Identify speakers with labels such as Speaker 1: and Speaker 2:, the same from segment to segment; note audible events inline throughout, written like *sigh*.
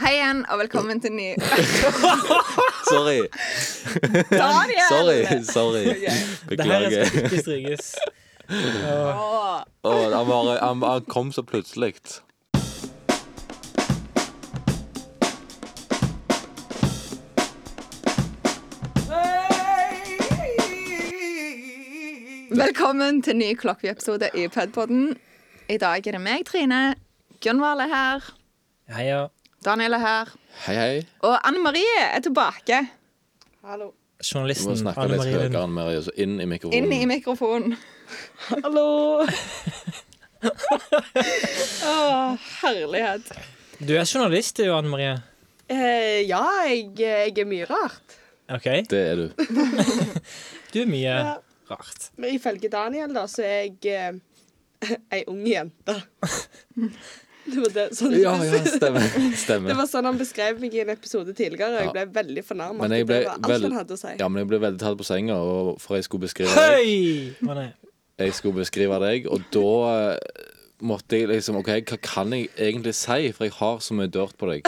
Speaker 1: Hei igjen, og velkommen til ny
Speaker 2: *laughs*
Speaker 3: Sorry.
Speaker 1: Daniel!
Speaker 3: Sorry. sorry
Speaker 4: Det her
Speaker 3: Beklager.
Speaker 4: skal ikke strykes. Og
Speaker 1: Åh.
Speaker 3: Å, han, bare, han, han kom så plutselig.
Speaker 1: Velkommen til ny Klokkvi-episode i Pedpodden. I dag er det meg, Trine. Gunvald er her.
Speaker 4: heia.
Speaker 1: Daniel er her.
Speaker 3: Hei, hei.
Speaker 1: Og Anne Marie er tilbake.
Speaker 2: Hallo.
Speaker 3: Du må
Speaker 4: Journalisten
Speaker 3: snakke
Speaker 4: Sånn, Anne
Speaker 3: litt
Speaker 4: Marie
Speaker 3: høyere
Speaker 4: Lund.
Speaker 3: enn Marie, så inn i mikrofonen.
Speaker 1: Inn i mikrofonen.
Speaker 2: *laughs* Hallo.
Speaker 1: Å,
Speaker 2: Ah,
Speaker 1: herlighet.
Speaker 4: Du er journalist, du, Anne Marie.
Speaker 2: Eh, ja, jeg, jeg er mye rart.
Speaker 4: OK?
Speaker 3: det er du.
Speaker 4: Du er mye
Speaker 2: Ja.
Speaker 4: rart.
Speaker 2: Men ifølge Daniel, da, så er jeg eh, *laughs* ei ung
Speaker 1: *laughs*
Speaker 2: jente. Det var, det, sånn,
Speaker 3: Ja, ja, stemmer.
Speaker 2: *laughs* det
Speaker 3: stemmer.
Speaker 2: var sånn han beskrev meg i en episode tidligere,
Speaker 3: Ja.
Speaker 2: og jeg ble veldig fornærma.
Speaker 3: Men
Speaker 2: Det
Speaker 3: jeg ble
Speaker 2: var alt
Speaker 3: vel-
Speaker 2: han hadde å si.
Speaker 3: Ja, men jeg ble veldig tatt på senga og for jeg skulle beskrive deg.
Speaker 4: Høy! Å nei.
Speaker 3: Jeg skulle beskrive deg, og da eh, måtte jeg liksom OK, hva kan jeg egentlig si? For jeg har så mye dirt på
Speaker 2: *laughs*
Speaker 3: deg.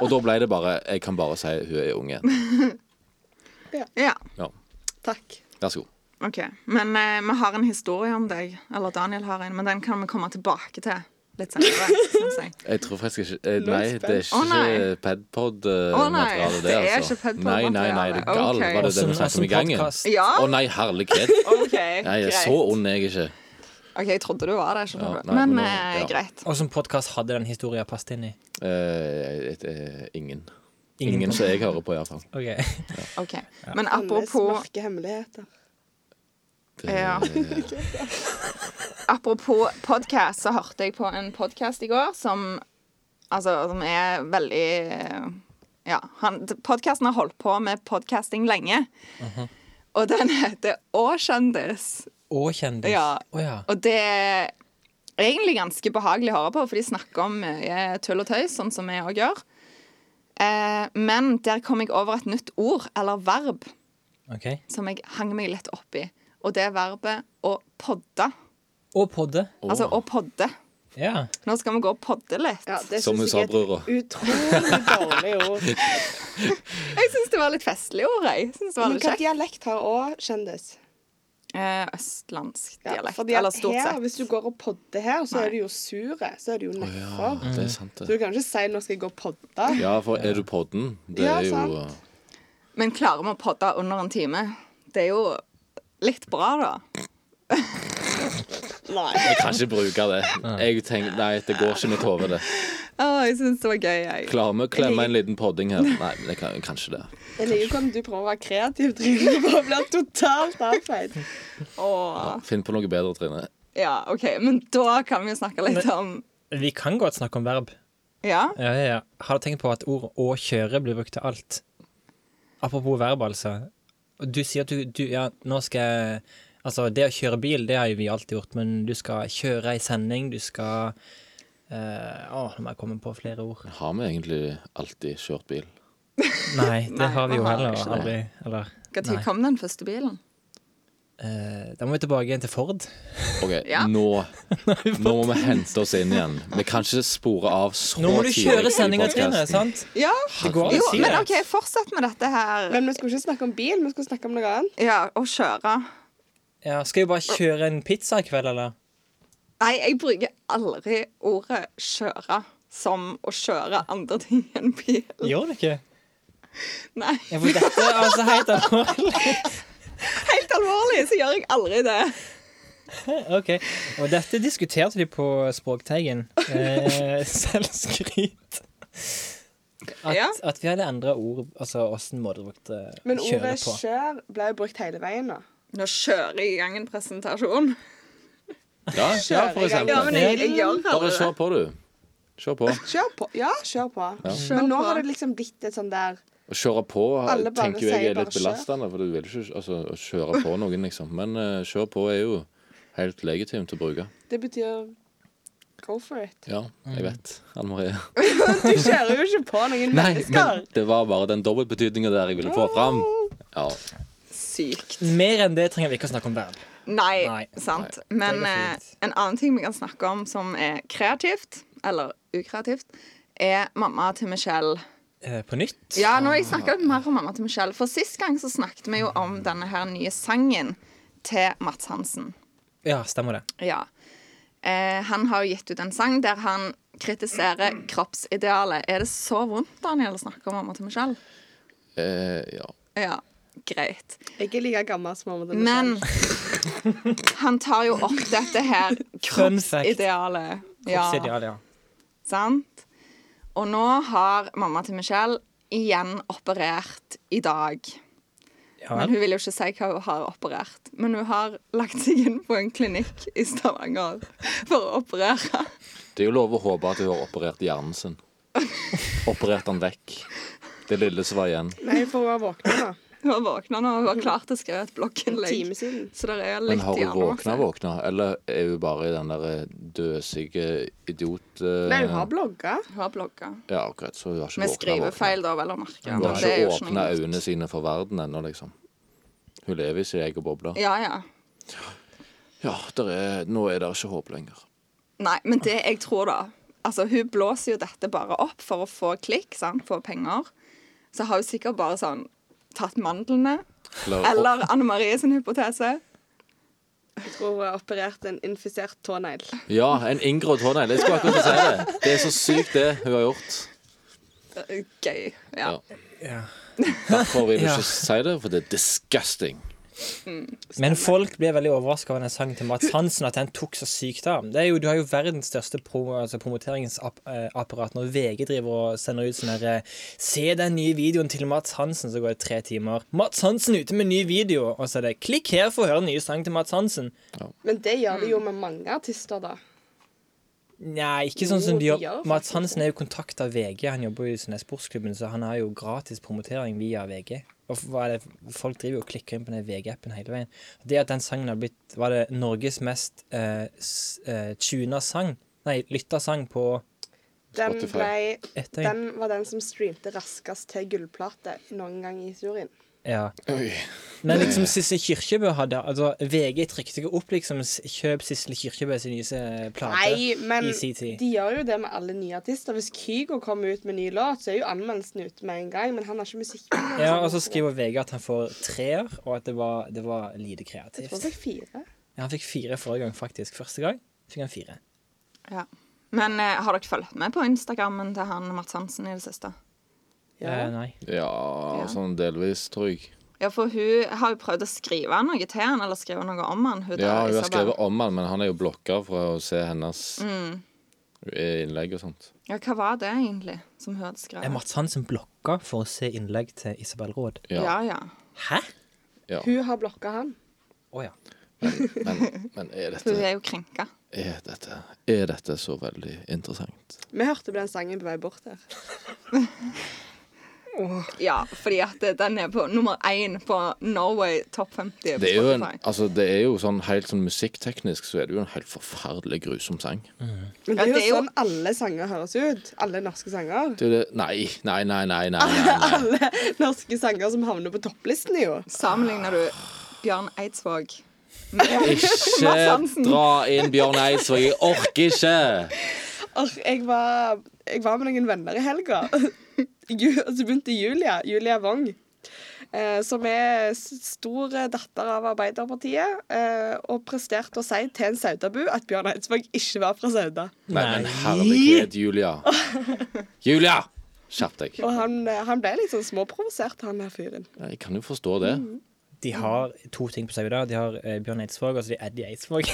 Speaker 3: Og da ble det bare Jeg kan bare si hun er ung igjen.
Speaker 1: Ja,
Speaker 3: Ja.
Speaker 2: Takk.
Speaker 3: Vær så god.
Speaker 1: OK. Men eh, vi har en historie om deg. Eller Daniel har en, men den kan vi komme tilbake til litt senere. Synes jeg.
Speaker 3: Jeg tror faktisk ikke eh,
Speaker 2: Nå er
Speaker 3: Nei,
Speaker 2: jeg
Speaker 3: det er
Speaker 1: Å,
Speaker 3: ikke
Speaker 1: nei. Å, nei,
Speaker 3: Padpod-materiale, det,
Speaker 1: det er
Speaker 3: altså.
Speaker 1: ikke Padpod
Speaker 3: Nei, nei, nei, det er gal.
Speaker 1: materiale.
Speaker 3: Var det det
Speaker 4: Åssen
Speaker 3: vi snakket om i gangen? Å,
Speaker 4: podkast.
Speaker 1: Ja,
Speaker 3: nei, herlighet.
Speaker 1: *laughs* OK.
Speaker 3: Nei, jeg er så ond er jeg ikke.
Speaker 1: OK, jeg trodde du var det. skjønner
Speaker 3: Ja,
Speaker 1: du.
Speaker 3: nei,
Speaker 1: Men
Speaker 3: men nå-
Speaker 1: eh,
Speaker 3: ja.
Speaker 1: greit.
Speaker 4: Åssen podkast hadde den historien passet inn i?
Speaker 3: Eh, jeg- jeg- jeg- ingen. Ingen som jeg hører på, iallfall.
Speaker 4: Ok. *laughs*
Speaker 1: OK. Men
Speaker 2: Alles
Speaker 1: apropos
Speaker 2: mørke hemmeligheter.
Speaker 1: Ja. Apropos podkast, så hørte jeg på en podkast i går som, altså, som er veldig eh, Ja. Podkasten har holdt på med podkasting lenge. Og den heter Å, kjendis.
Speaker 4: Og kjendis.
Speaker 1: Ja.
Speaker 4: Å ja.
Speaker 1: Og det er egentlig ganske behagelig å høre på, for de snakker om mye tull og tøys, sånn som vi òg gjør. Eh, men der kom jeg over et nytt ord, eller verb,
Speaker 4: OK.
Speaker 1: som jeg hang meg litt opp i. Og det er verbet å podde.
Speaker 4: Og podde.
Speaker 1: Altså å podde.
Speaker 4: Ja.
Speaker 1: Nå skal vi gå og podde litt.
Speaker 2: Ja, det
Speaker 3: Som hun
Speaker 2: syns
Speaker 3: sa,
Speaker 2: jeg er
Speaker 3: brura.
Speaker 2: et utrolig dårlig
Speaker 3: *laughs*
Speaker 2: ord.
Speaker 1: Jeg syns det var litt festlig ord, jeg. Synes det var
Speaker 2: Men
Speaker 1: litt
Speaker 2: hva
Speaker 1: kjekt.
Speaker 2: dialekt har òg kjendis?
Speaker 1: Eh, østlandsk
Speaker 2: Ja,
Speaker 1: dialekt.
Speaker 2: fordi at
Speaker 1: eller stort
Speaker 2: her,
Speaker 1: sett.
Speaker 2: Hvis du går og podder her, så
Speaker 1: Nei. Mm.
Speaker 2: er du jo sure. Så er du jo
Speaker 3: Å
Speaker 2: nedfor.
Speaker 3: ja, det er sant,
Speaker 2: Så
Speaker 3: det.
Speaker 2: du kan ikke si 'nå skal jeg gå og podde'.
Speaker 3: Ja, for er du podden? Det
Speaker 2: Ja,
Speaker 3: er jo
Speaker 2: sant.
Speaker 1: Men klarer vi å podde under en time? Det er jo litt bra, da.
Speaker 2: Nei.
Speaker 3: Jeg kan ikke bruke det. Jeg tenker, Nei, det går ikke i mitt hode, det.
Speaker 1: Å, jeg syns det var gøy, jeg.
Speaker 3: Klarer vi å klemme en liten podding her? Nei, men jeg kan kanskje det.
Speaker 2: Jeg liker hvordan du prøver å være kreativ, Trine. Du bare blir totalt avfeid.
Speaker 1: Åh.
Speaker 3: Finn på noe bedre, Trine.
Speaker 1: Ja, OK. Men da kan vi jo snakke litt om
Speaker 4: Vi kan godt snakke om verb.
Speaker 1: Ja?
Speaker 4: Ja, ja, ja. Har du tenkt på at ord 'å kjøre' blir brukt til alt? Apropos verb, altså. Du sier at du, du Ja, nå skal jeg Altså, det å kjøre bil, det har jo vi alltid gjort, men du skal kjøre i sending, du skal eh, Å, nå må jeg komme på flere ord.
Speaker 3: Har vi egentlig alltid kjørt bil?
Speaker 4: Nei, *laughs* det
Speaker 1: Nei,
Speaker 4: har vi jo
Speaker 1: vi har
Speaker 4: heller
Speaker 1: ikke
Speaker 4: aldri. Eller
Speaker 1: Når kom den første bilen?
Speaker 4: eh, Da må vi tilbake igjen til Ford.
Speaker 3: OK,
Speaker 1: Ja.
Speaker 4: *laughs*
Speaker 3: nå Nå må vi hente oss inn igjen. Vi kan ikke spore av så
Speaker 4: Nå må du
Speaker 3: tidlig
Speaker 4: kjøre
Speaker 3: i
Speaker 4: sendinga,
Speaker 3: podcasten.
Speaker 4: Trine. sant?
Speaker 1: Ja.
Speaker 4: Det går an
Speaker 1: Jo,
Speaker 4: å si
Speaker 1: men
Speaker 4: det.
Speaker 1: OK, fortsett med dette her.
Speaker 2: Men vi skulle ikke snakke om bil, vi skulle snakke om noe annet.
Speaker 1: Ja, å kjøre.
Speaker 4: Ja, skal vi bare kjøre en pizza i kveld, eller?
Speaker 1: Nei, jeg bruker aldri ordet 'kjøre' som å kjøre andre ting enn bil.
Speaker 4: Gjør du ikke?
Speaker 1: Nei,
Speaker 4: Ja, for dette er altså helt alvorlig.
Speaker 1: helt alvorlig så gjør jeg aldri det.
Speaker 4: Ok, og dette diskuterte de på Språkteigen. Eh, *laughs* selvskryt. At,
Speaker 1: Ja.
Speaker 4: at vi hadde endra ord, altså åssen måte brukte
Speaker 2: Men
Speaker 4: kjøre
Speaker 2: ordet
Speaker 4: på.
Speaker 2: 'kjør' ble jo brukt hele veien nå.
Speaker 1: Nå kjører jeg i gang en presentasjon.
Speaker 3: Ja, ja, for eksempel.
Speaker 1: Ja, men jeg, jeg gjør
Speaker 3: Bare
Speaker 1: aldri det.
Speaker 3: kjør på, du. Kjør på.
Speaker 2: Kjør på. Ja, kjør på.
Speaker 1: Kjør
Speaker 2: Men nå
Speaker 1: på.
Speaker 2: har det liksom blitt et sånn der
Speaker 3: Å kjøre på
Speaker 2: Alle bare
Speaker 3: tenker jo jeg
Speaker 2: sier
Speaker 3: er
Speaker 2: bare
Speaker 3: litt
Speaker 2: kjør.
Speaker 3: belastende, for du vil ikke altså, å kjøre på noen, liksom. Men eh, kjør på er jo helt legitimt å bruke.
Speaker 2: Det betyr go for it.
Speaker 3: Ja, jeg vet. Anne Marie.
Speaker 2: Du kjører jo ikke på noen
Speaker 3: Nei,
Speaker 2: mennesker.
Speaker 3: men det var bare den dobbeltbetydninga der jeg ville få fram. Ja.
Speaker 1: Sykt.
Speaker 4: Mer enn det trenger vi ikke å snakke om verb.
Speaker 1: Nei,
Speaker 4: Nei.
Speaker 1: sant. Men
Speaker 4: Det går
Speaker 1: eh,
Speaker 4: fint.
Speaker 1: en annen ting vi kan snakke om som er kreativt, eller ukreativt, er mamma til Michelle.
Speaker 4: Eh, På nytt?
Speaker 1: Ja, nå har jeg snakka mer om mamma til Michelle, for sist gang så snakket vi jo om denne her nye sangen til Mats Hansen.
Speaker 4: Ja, stemmer det.
Speaker 1: Ja. Eh, han har jo gitt ut en sang der han kritiserer kroppsidealet. Er det så vondt, Daniel, å snakke om mamma til Michelle?
Speaker 3: Eh, ja.
Speaker 1: Ja, greit.
Speaker 2: Jeg er ikke like gammel som mamma til
Speaker 1: Men han tar jo opp dette her
Speaker 4: Fun fact.
Speaker 1: kroppsidealet. Ja,
Speaker 4: Kroppsideal, ja.
Speaker 1: sant? Og nå har mamma til Michelle igjen operert i dag.
Speaker 4: Ja,
Speaker 1: Men
Speaker 4: vel.
Speaker 1: hun vil jo ikke si hva hun har operert. Men hun har lagt seg inn på en klinikk i Stavanger for å operere.
Speaker 3: Det er jo lov å håpe at hun har operert hjernen sin. Operert den vekk. Det lille som var igjen.
Speaker 2: Nei, for hun var våkna da.
Speaker 1: Hun har våkna nå og var klar til å skrive et
Speaker 2: En
Speaker 1: blogginnlegg.
Speaker 2: time siden.
Speaker 1: Så det er
Speaker 3: Men
Speaker 1: litt
Speaker 3: har hun våkna,
Speaker 1: hjernevakse.
Speaker 3: våkna? Eller er hun bare i den der eh, døsige idiot... eh,
Speaker 2: Nei, hun har blogga.
Speaker 1: Hun har blogga.
Speaker 3: Ja, akkurat. Så hun har ikke
Speaker 1: Med
Speaker 3: våkna, våkna.
Speaker 1: skrivefeil, da, vel å merke.
Speaker 3: Hun
Speaker 1: Men
Speaker 3: har
Speaker 1: det er
Speaker 3: ikke
Speaker 1: jo sånn- ikke
Speaker 3: åpna
Speaker 1: noe nytt.
Speaker 3: øynene sine for verden ennå, liksom. Hun lever i sin egen boble.
Speaker 1: Ja, ja.
Speaker 3: Ja, der er, nå er det ikke håp lenger.
Speaker 1: Nei, men det jeg tror da Altså, hun blåser jo dette bare opp for å få klikk, sant? få penger. Så har hun sikkert bare sånn tatt mandlene.
Speaker 3: Eller,
Speaker 1: Eller Anne Marie sin hypotese.
Speaker 2: Jeg tror hun har operert en infisert tånegl.
Speaker 3: Ja, en inngrodd tånegl. Jeg skulle akkurat til å si det. Det er så sykt, det hun har gjort.
Speaker 1: Eh, Gøy. Ja.
Speaker 3: Ja.
Speaker 4: Ja.
Speaker 3: Derfor vil du
Speaker 4: Ja.
Speaker 3: ikke si det, for det er disgusting.
Speaker 4: Men folk ble veldig overraska over den sangen til Mats Hansen, at den tok så sykt av. Det er jo, du har jo verdens største pro, altså promoteringsapparat når VG driver og sender ut sånn herre Se den nye videoen til Mats Hansen, så går det tre timer. Mats Hansen ute med ny video! Og så er det Klikk her for å høre den nye sangen til Mats Hansen.
Speaker 2: Men det gjør de jo med mange artister, da.
Speaker 4: Nei, ikke sånn
Speaker 2: Jo,
Speaker 4: som de
Speaker 2: de
Speaker 4: gjør.
Speaker 2: gjør
Speaker 4: Mats
Speaker 2: faktisk
Speaker 4: Hansen er jo kontakt av VG. Han jobber jo i sånne sportsklubben, så han har jo gratis promotering via VG. Og f- hva er det? Folk driver jo og klikker inn på den VG-appen hele veien. Det at den sangen har blitt Var det Norges mest eh, s- eh, tuna sang? Nei, lytta sang på
Speaker 2: Den,
Speaker 3: Spotify.
Speaker 2: ble,
Speaker 4: ett døgn.
Speaker 2: den var den som streamte raskest til gullplate noen gang i historien.
Speaker 4: Ja.
Speaker 3: Oi.
Speaker 4: Men liksom Sissel Kyrkjebø hadde Altså, VG trykte ikke opp liksom s- Kjøp Sissel Kyrkjebø sin nye eh, plate.
Speaker 2: Nei, men
Speaker 4: i sin tid.
Speaker 2: de gjør jo det med alle nye artister. Hvis Kygo kommer ut med ny låt, så er jo anmeldelsen ute med en gang, men han har ikke musikk.
Speaker 4: Ja, og så skriver VG at han får treer, og at det var, det var lite
Speaker 2: Jeg tror
Speaker 4: kreativt.
Speaker 2: det er fire.
Speaker 4: Ja, han fikk fire forrige gang, faktisk. Første gang fikk han fire.
Speaker 1: Ja. Men eh, har dere fulgt med på Instagrammen til han Mats Hansen i det siste?
Speaker 2: Ja.
Speaker 4: Eh, nei.
Speaker 3: Ja, sånn delvis, tror jeg.
Speaker 1: Ja, for hun har jo prøvd å skrive noe til han, eller skrive noe om han. Hun,
Speaker 3: Ja,
Speaker 1: der,
Speaker 3: hun har
Speaker 1: Isabel.
Speaker 3: skrevet om han, men han er jo blokka fra å se hennes Mm. innlegg og sånt.
Speaker 1: Ja, hva var det egentlig som hun hadde skrevet?
Speaker 4: Er Mats Hansen blokka for å se innlegg til Isabel Råd?
Speaker 1: Ja,
Speaker 3: Ja,
Speaker 1: ja.
Speaker 4: Hæ?
Speaker 3: ja.
Speaker 2: Hun har blokka han.
Speaker 4: Å ja.
Speaker 3: Men, men er,
Speaker 1: Hun
Speaker 3: dette,
Speaker 1: er jo krenka.
Speaker 3: er, dette, er dette så veldig interessant?
Speaker 2: Vi hørte på den sangen på vei bort der.
Speaker 1: Ja, fordi at den er på nummer én på Norway Top 50 på
Speaker 3: Det er jo, en,
Speaker 1: Spotify.
Speaker 3: altså, det er jo sånn helt sånn musikkteknisk så er det jo en helt forferdelig grusom sang.
Speaker 2: Men
Speaker 1: Ja,
Speaker 2: det er jo,
Speaker 1: det er jo-
Speaker 2: sånn alle sanger høres ut. Alle norske sanger.
Speaker 3: Det er jo det Nei, nei, nei, nei. nei, *laughs* nei, nei.
Speaker 2: Norske sanger som havner på topplisten, jo.
Speaker 1: Sammenligner du Bjørn Eidsvåg
Speaker 3: Ikke
Speaker 1: Mads Hansen.
Speaker 3: *laughs* dra inn Bjørn Eidsvåg. Jeg orker ikke!
Speaker 2: Or, jeg, var, jeg var med noen venner i
Speaker 1: *laughs*
Speaker 2: helga. Ju- Og så begynte Julia. Julia Wong. Eh, som er s- stor datter av Arbeiderpartiet. Eh, og presterte å si til en saudabu at Bjørn Eidsvåg ikke var fra Sauda.
Speaker 3: Nei, men herlighet, Julia. *laughs* Julia! Skjerp deg.
Speaker 2: Og han, eh, han ble litt sånn småprovosert, han her fyren.
Speaker 3: Jeg kan jo forstå det.
Speaker 4: De har to ting på seg i dag. De har eh, Bjørn Eidsvåg og så de Eddie Eidsvåg.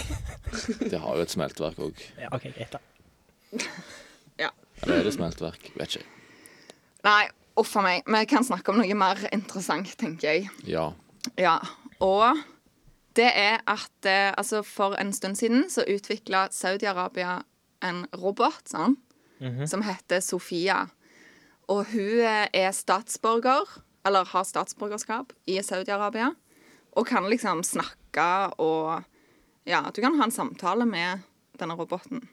Speaker 3: Det har jo et smeltverk òg.
Speaker 4: ja, OK, greit, da.
Speaker 1: Ja.
Speaker 3: Eller er det smeltverk? Vet ikke.
Speaker 1: Nei, uff a meg. Vi kan snakke om noe mer interessant, tenker jeg.
Speaker 3: Ja.
Speaker 1: Ja, og det er at eh, altså for en stund siden så utvikla Saudi-Arabia en robot sånn, som heter Sofia. Og hun eh, er statsborger, eller har statsborgerskap, i Saudi-Arabia. Og kan liksom snakke og Ja, du kan ha en samtale med denne roboten.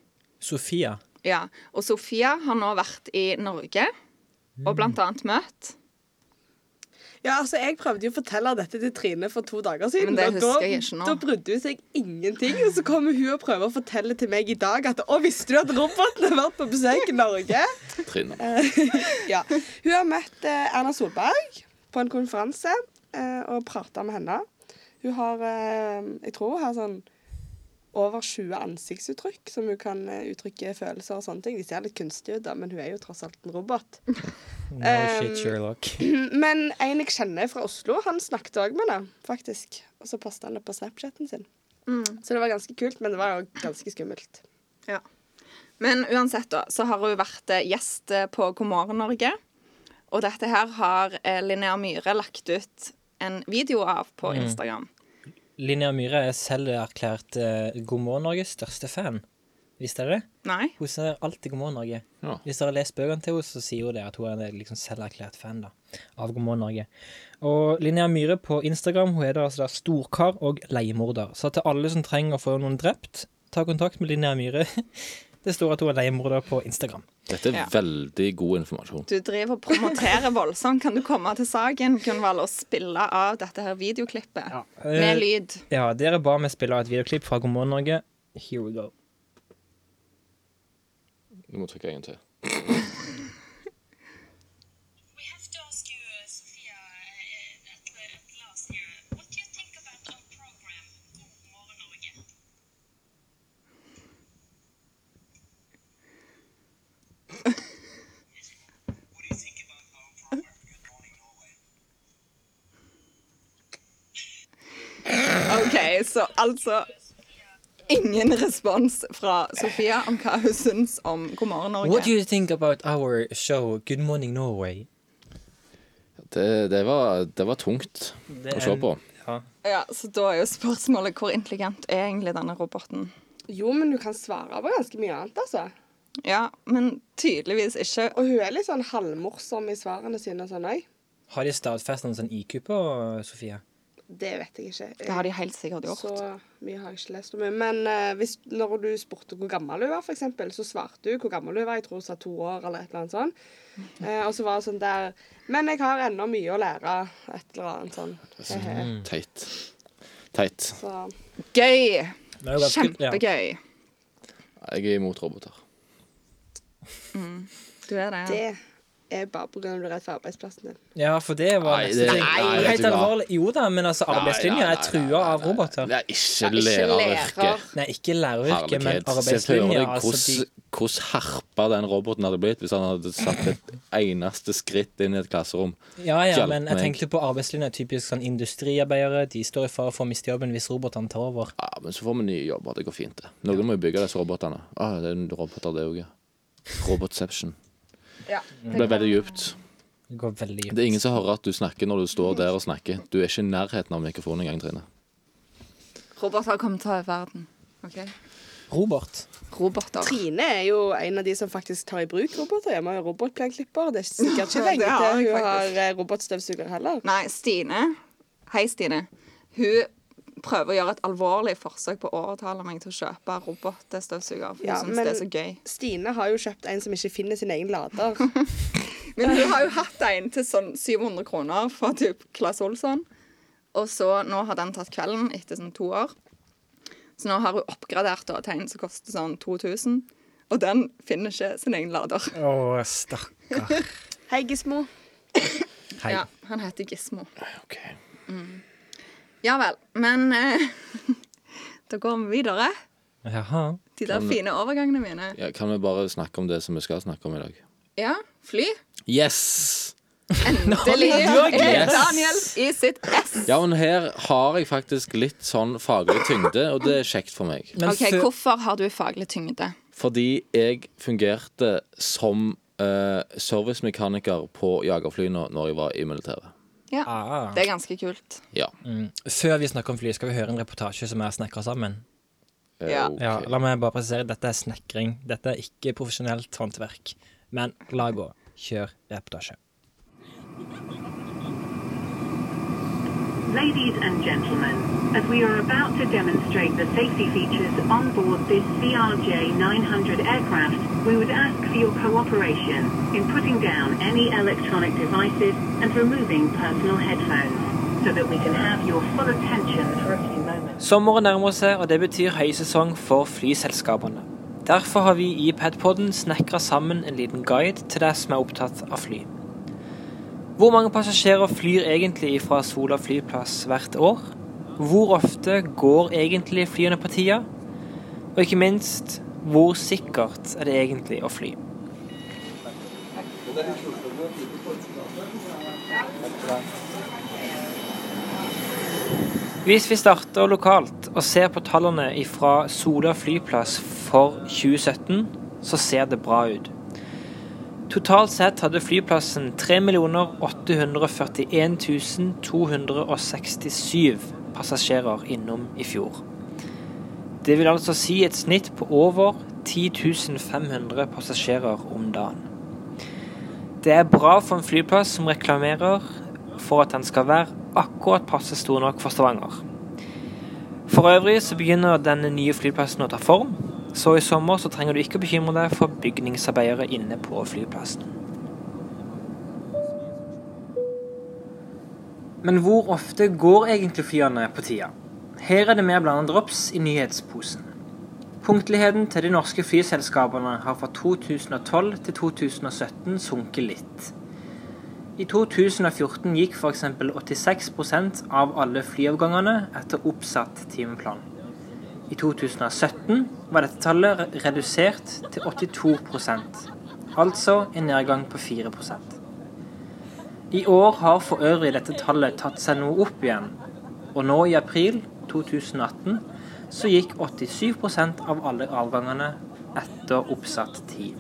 Speaker 4: Sofia.
Speaker 1: Ja, Og Sofia har nå vært i Norge og blant annet møtt
Speaker 2: Ja, altså, jeg prøvde jo å fortelle dette til Trine for to dager siden.
Speaker 1: Men det
Speaker 2: og
Speaker 1: husker jeg ikke nå.
Speaker 2: Da brydde hun seg ingenting, og så kommer hun og prøver å fortelle til meg i dag at Å, visste du at roboten har vært på besøk i Norge?
Speaker 3: Trine.
Speaker 2: *laughs* ja. Hun har møtt eh, Erna Solberg på en konferanse eh, og prata med henne. Hun har eh, Jeg tror hun har sånn over 20 ansiktsuttrykk som hun kan eh, uttrykke følelser og sånne ting. De ser litt kunstige ut, da, men hun er jo tross alt en robot. *clears throat*
Speaker 4: No
Speaker 2: Um,
Speaker 4: shit, Sherlock.
Speaker 2: Men en jeg kjenner fra Oslo, han snakket òg med henne, faktisk. Og så posta han det på Snapchaten sin. Så det var ganske kult, men det var òg ganske skummelt.
Speaker 1: Ja. Men uansett, da, så har hun vært eh, gjest eh, på God morgen Norge. Og dette her har eh, Linnea Myhre lagt ut en video av på Instagram.
Speaker 4: Linnea Myhre er selv erklært eh, God morgen Norges største fan. Visste dere det?
Speaker 1: Nei?
Speaker 4: Hun ser alltid God morgen Norge.
Speaker 3: Ja.
Speaker 4: Hvis dere har lest bøkene til henne, så sier hun det at hun er en liksom selverklært fan da, av God morgen Norge. Og Linnea Myhre på Instagram hun er da altså da storkar og leiemorder. Så til alle som trenger å få noen drept, ta kontakt med Linnea Myhre. *laughs* Det står at hun er leiemorder på Instagram.
Speaker 3: Dette er
Speaker 1: Ja.
Speaker 3: veldig god informasjon.
Speaker 1: Du driver og promoterer voldsomt. Kan du komme til saken, Gunvald, og spille av dette her videoklippet? Med lyd.
Speaker 4: Ja, dere ba meg spille av et videoklipp fra God morgen Norge. Here we go.
Speaker 3: Du må trykke en til.
Speaker 5: We have to ask you, uh, Sofia, uh, at, uh, at last here, what do you think about our program, God morgen Norge? what do you think about our program, Good Morning Norway?
Speaker 1: OK, så altså Ingen respons fra Sofia om hva hun syns om God morgen Norge.
Speaker 4: What do you think about our show Good Morning Norway?
Speaker 3: Det, det, var, det var tungt å se på.
Speaker 4: Ja.
Speaker 1: Ja, så da er jo spørsmålet hvor intelligent er egentlig denne roboten?
Speaker 2: Jo, men du kan svare på ganske mye annet, altså.
Speaker 1: Ja, men tydeligvis ikke.
Speaker 2: Og hun er litt sånn halvmorsom i svarene sine og sånn òg.
Speaker 4: Har de stadfestet en sånn IQ på Sofie?
Speaker 2: Det vet jeg ikke.
Speaker 1: Det har de helt sikkert gjort.
Speaker 2: Så mye har jeg ikke lest om henne. Men eh, hvis, når du spurte hvor gammel hun var, for eksempel, så svarte hun hvor gammel hun var. Jeg tror hun sa to år eller et eller annet
Speaker 1: *laughs*
Speaker 2: sånt. Eh, og så var det sånn der Men jeg har ennå mye å lære. Et eller annet sånn. Hehe.
Speaker 3: Mm. Teit. Teit.
Speaker 2: Så
Speaker 1: Gøy!
Speaker 4: Men det er jo ganske- Ja.
Speaker 1: Kjempegøy.
Speaker 3: Jeg er imot roboter.
Speaker 1: Du er det.
Speaker 2: det er bare pga. at du er redd for arbeidsplassen din.
Speaker 4: ja, for det var
Speaker 3: Nei,
Speaker 4: neste
Speaker 3: det-
Speaker 4: ting.
Speaker 3: nei,
Speaker 4: Nei,
Speaker 3: vet
Speaker 4: Helt
Speaker 3: du hva?
Speaker 4: alvorlig. Jo da, men altså, arbeidslinja er
Speaker 3: nei, nei,
Speaker 4: trua av roboter.
Speaker 3: Det er ikke
Speaker 1: ikke lærer.
Speaker 3: læreryrket.
Speaker 4: Nei, ikke læreryrket, men
Speaker 3: Herlighet. Se for
Speaker 4: arbeidslinja.
Speaker 3: deg
Speaker 4: Altså, de,
Speaker 3: hvordan- hvordan harpa den roboten hadde blitt hvis han hadde satt et eneste skritt inn i et klasserom.
Speaker 4: ja, ja,
Speaker 3: Hjelp
Speaker 4: men jeg
Speaker 3: meg.
Speaker 4: tenkte på arbeidslinja. Typisk sånn industriarbeidere. De står i fare for å miste jobben hvis robotene tar over.
Speaker 3: Ja, Men så får vi nye jobber. Det går fint, det. Noen må jo bygge disse robotene. Ah, det er en roboter, det òg, ja. Robotception.
Speaker 1: Ja.
Speaker 3: Det ble veldig djupt.
Speaker 4: Det går veldig
Speaker 3: Det er ingen som hører at du snakker når du står der og snakker. Du er ikke i nærheten av mikrofonen engang, Trine.
Speaker 1: Roboter kommer til å ta over verden. OK?
Speaker 4: Robert.
Speaker 1: Roboter.
Speaker 2: Trine er jo en av de som faktisk tar i bruk roboter. Jeg må ha robotplenklipper. Det er sikkert
Speaker 1: *laughs* Ja,
Speaker 2: ikke
Speaker 1: det
Speaker 2: lenge
Speaker 1: har
Speaker 2: til
Speaker 1: jeg
Speaker 2: hun
Speaker 1: faktisk.
Speaker 2: har eh, robotstøvsuger heller.
Speaker 1: Nei, Stine. Hei, Stine. Hun prøver å gjøre et alvorlig forsøk på å overtale meg til å kjøpe robotstøvsuger. For hun
Speaker 2: Ja,
Speaker 1: synes
Speaker 2: men-
Speaker 1: det er så gøy.
Speaker 2: Stine har jo kjøpt en som ikke finner sin egen lader.
Speaker 1: *laughs* Men hun har jo hatt en til sånn 700 kroner fra typ Klass Olsson. Og så nå har den tatt kvelden etter sånn to år. Så nå har hun oppgradert da, til en som koster sånn 2000. Og den finner ikke sin egen lader.
Speaker 4: Å, stakkar.
Speaker 2: Hei, Gismo.
Speaker 4: Hei.
Speaker 1: Ja, han heter Gismo.
Speaker 3: Ok.
Speaker 1: Ja vel. Men eh, *laughs* da går vi videre.
Speaker 4: Jaha.
Speaker 1: De der fine overgangene mine.
Speaker 3: Ja, kan vi bare snakke om det som vi skal snakke om i dag?
Speaker 1: Ja,
Speaker 4: *laughs*
Speaker 1: fly.
Speaker 3: Yes!
Speaker 1: Endelig
Speaker 4: har gledet
Speaker 1: er
Speaker 3: oss.
Speaker 1: Daniel i sitt ess.
Speaker 3: Ja, men her har jeg faktisk litt sånn faglig tyngde, og det er kjekt for meg.
Speaker 4: Men
Speaker 1: OK,
Speaker 4: før-
Speaker 1: hvorfor har du faglig tyngde?
Speaker 3: Fordi jeg fungerte som eh, servicemekaniker på jagerflyene når jeg var i militæret.
Speaker 1: Ja,
Speaker 4: ah.
Speaker 1: det er ganske kult.
Speaker 3: Ja.
Speaker 4: Før vi snakker om fly, skal vi høre en reportasje som er snekra sammen.
Speaker 3: Eh,
Speaker 1: Ja.
Speaker 3: ok.
Speaker 4: Ja, La meg bare presisere, dette er snekring. Dette er ikke profesjonelt håndverk. Men la gå. Kjør reportasje.
Speaker 6: Ladies and gentlemen, as we are about to demonstrate the safety features on board this CRJ 900 aircraft, we would ask for your cooperation in putting down any electronic devices and removing personal headphones so that we can have your full attention for a few moments.
Speaker 4: Sommeren nærmer seg, og det betyr høysesong for flyselskapene. Derfor har vi i Padpodden snekra sammen en liten guide til deg som er opptatt av fly. Hvor mange passasjerer flyr egentlig fra Sola flyplass hvert år? Hvor ofte går egentlig flyene på tida? Og ikke minst, hvor sikkert er det egentlig å fly? Hvis vi starter lokalt og ser på tallene fra Sola flyplass for 2017, så ser det bra ut. Totalt sett hadde flyplassen 3 841 267 passasjerer innom i fjor. Det vil altså si et snitt på over 10 500 passasjerer om dagen. Det er bra for en flyplass som reklamerer for at den skal være akkurat passe stor nok for Stavanger. For øvrig så begynner den nye flyplassen å ta form, så i sommer så trenger du ikke bekymre deg for bygningsarbeidere inne på flyplassen. Men hvor ofte går egentlig flyene på tida? Her er det mer blanda drops i nyhetsposen. Punktligheten til de norske flyselskapene har fra 2012 til 2017 sunket litt. I 2014 gikk f.eks. 86 av alle flyavgangene etter oppsatt timeplan. I 2017 var dette tallet re- redusert til 82 altså en nedgang på 4 I år har for øvrig dette tallet tatt seg noe opp igjen, og nå i april 2018 så gikk 87 av alle avgangene etter oppsatt tid.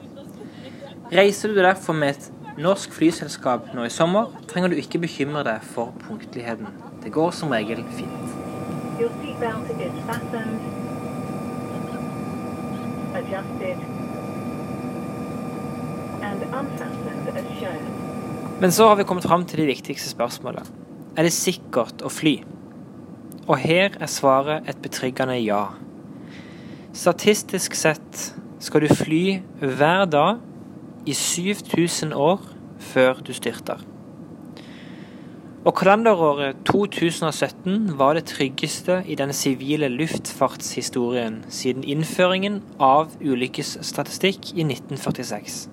Speaker 4: Reiser du derfor med et norsk flyselskap nå i sommer, trenger du ikke bekymre deg for punktligheten. Det går som regel fint.
Speaker 6: Your seatbelt is fastened, adjusted, and unfastened as shown.
Speaker 4: Men så har vi kommet fram til det viktigste spørsmålet. Er det sikkert å fly? Og her er svaret et betryggende ja. Statistisk sett skal du fly hver dag i 7000 år før du styrter. Og kalenderåret 2017 var det tryggeste i den sivile luftfartshistorien siden innføringen av ulykkesstatistikk i 1946.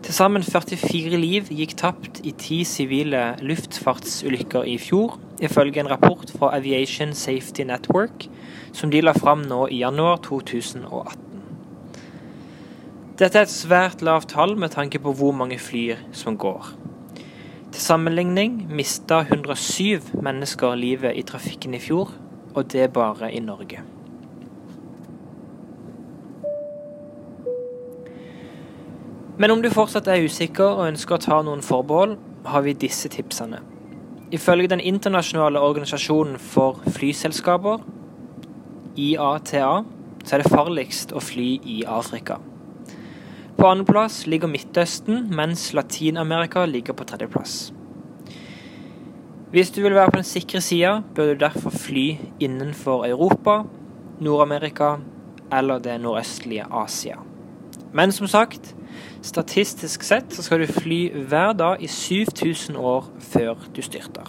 Speaker 4: Til sammen 44 liv gikk tapt i ti sivile luftfartsulykker i fjor, ifølge en rapport fra Aviation Safety Network, som de la fram nå i januar 2018. Dette er et svært lavt tall med tanke på hvor mange flyer som går. Til sammenligning mista 107 mennesker livet i trafikken i fjor, og det bare i Norge. Men om du fortsatt er usikker og ønsker å ta noen forbehold, har vi disse tipsene. Ifølge den internasjonale organisasjonen for flyselskaper, IATA, så er det farligst å fly i Afrika. På andreplass ligger Midtøsten, mens Latin-Amerika ligger på tredjeplass. Hvis du vil være på den sikre sida, bør du derfor fly innenfor Europa, Nord-Amerika eller det nordøstlige Asia. Men som sagt, Statistisk sett så skal du fly hver dag i 7000 år før du styrter.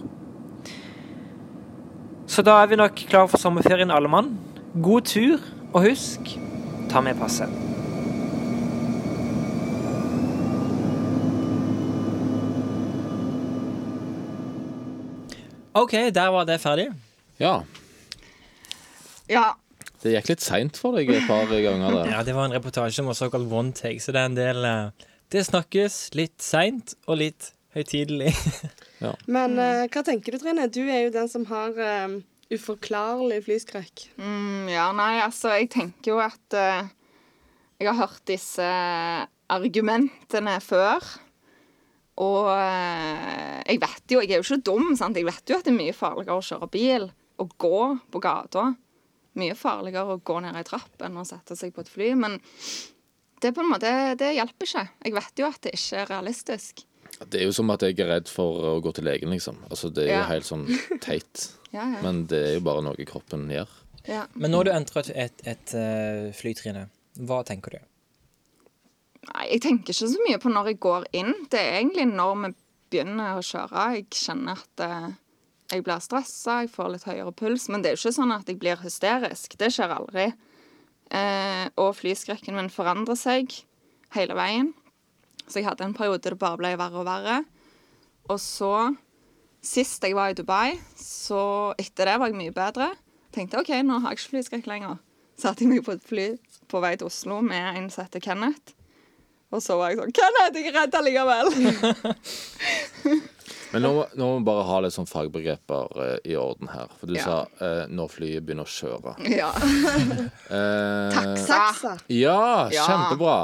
Speaker 4: Så da er vi nok klare for sommerferien, alle mann. God tur, og husk, ta med passet.
Speaker 7: OK, der var det ferdig.
Speaker 3: Ja.
Speaker 1: Ja.
Speaker 3: Det gikk litt seint for deg et par ganger
Speaker 4: *laughs*
Speaker 3: der.
Speaker 7: Ja, Det var en reportasje om en såkalt one take, så det er en del eh, Det snakkes litt seint og litt høytidelig.
Speaker 2: Men eh, hva tenker du, Trine? Du er jo den som har eh, uforklarlig flyskrekk.
Speaker 1: Mm, ja, nei, altså, jeg tenker jo at eh, Jeg har hørt disse argumentene før. Og eh, jeg vet jo, jeg er jo ikke dum, sant? jeg vet jo at det er mye farligere å kjøre bil og gå på gata. Mye farligere å gå ned ei trapp enn å sette seg på et fly. Men det er på en måte, det hjelper ikke. Jeg vet jo at det ikke er realistisk.
Speaker 3: Det er jo som at jeg er redd for å gå til legen, liksom. Altså, det er jo
Speaker 1: Ja.
Speaker 3: helt
Speaker 1: *laughs*
Speaker 3: sånn teit.
Speaker 1: Ja, ja.
Speaker 3: Men det er jo bare noe kroppen gjør.
Speaker 1: ja.
Speaker 4: *laughs* Men når du entrer et, et, et eh, flytrinne, hva tenker du?
Speaker 1: Nei, jeg tenker ikke så mye på når jeg går inn. Det er egentlig når vi begynner å kjøre. Jeg kjenner at eh, jeg blir stressa, jeg får litt høyere puls. Men det er jo ikke sånn at jeg blir hysterisk. Det skjer aldri. Eh, og flyskrekken min forandrer seg hele veien. Så jeg hadde en periode det bare ble verre og verre. Og så, sist jeg var i Dubai, så etter det var jeg mye bedre. Tenkte OK, nå har jeg ikke flyskrekk lenger. Satte jeg meg på et fly på vei til Oslo med en som heter Kenneth. Og så var jeg sånn Kenneth, jeg er redd allikevel.
Speaker 3: Men nå, må- nå må vi bare ha litt sånn fagbegreper eh, i orden her. For du
Speaker 1: Ja.
Speaker 3: sa eh, når flyet begynner å kjøre.
Speaker 1: *laughs* ja.
Speaker 3: Eh,
Speaker 2: Saksa.
Speaker 3: Ja,
Speaker 1: Ja.
Speaker 3: kjempebra.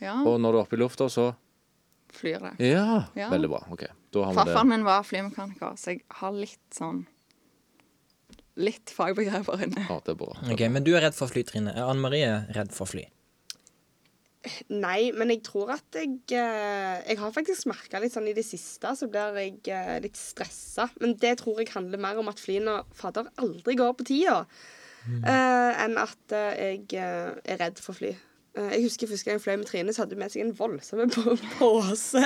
Speaker 1: ja.
Speaker 3: Og når du er oppe i lufta, så
Speaker 1: Flyr det.
Speaker 3: ja,
Speaker 1: Ja.
Speaker 3: Veldig bra. OK. Da har vi det.
Speaker 1: Farfaren min var flymekaniker, så jeg har litt sånn Litt fagbegreper inne.
Speaker 3: Ja, det er bra.
Speaker 4: Ok, Men du er redd for flytrinne. Er Anne Marie redd for fly?
Speaker 2: Nei, men jeg tror at jeg eh, Jeg har faktisk merka litt sånn i det siste, så blir jeg eh, litt stressa. Men det tror jeg handler mer om at flyene fader aldri går på tida, eh, enn at eh, jeg eh, er redd for fly. Eh, jeg husker Første gang jeg fløy med Trine, så hadde hun med seg en voldsom *laughs* pose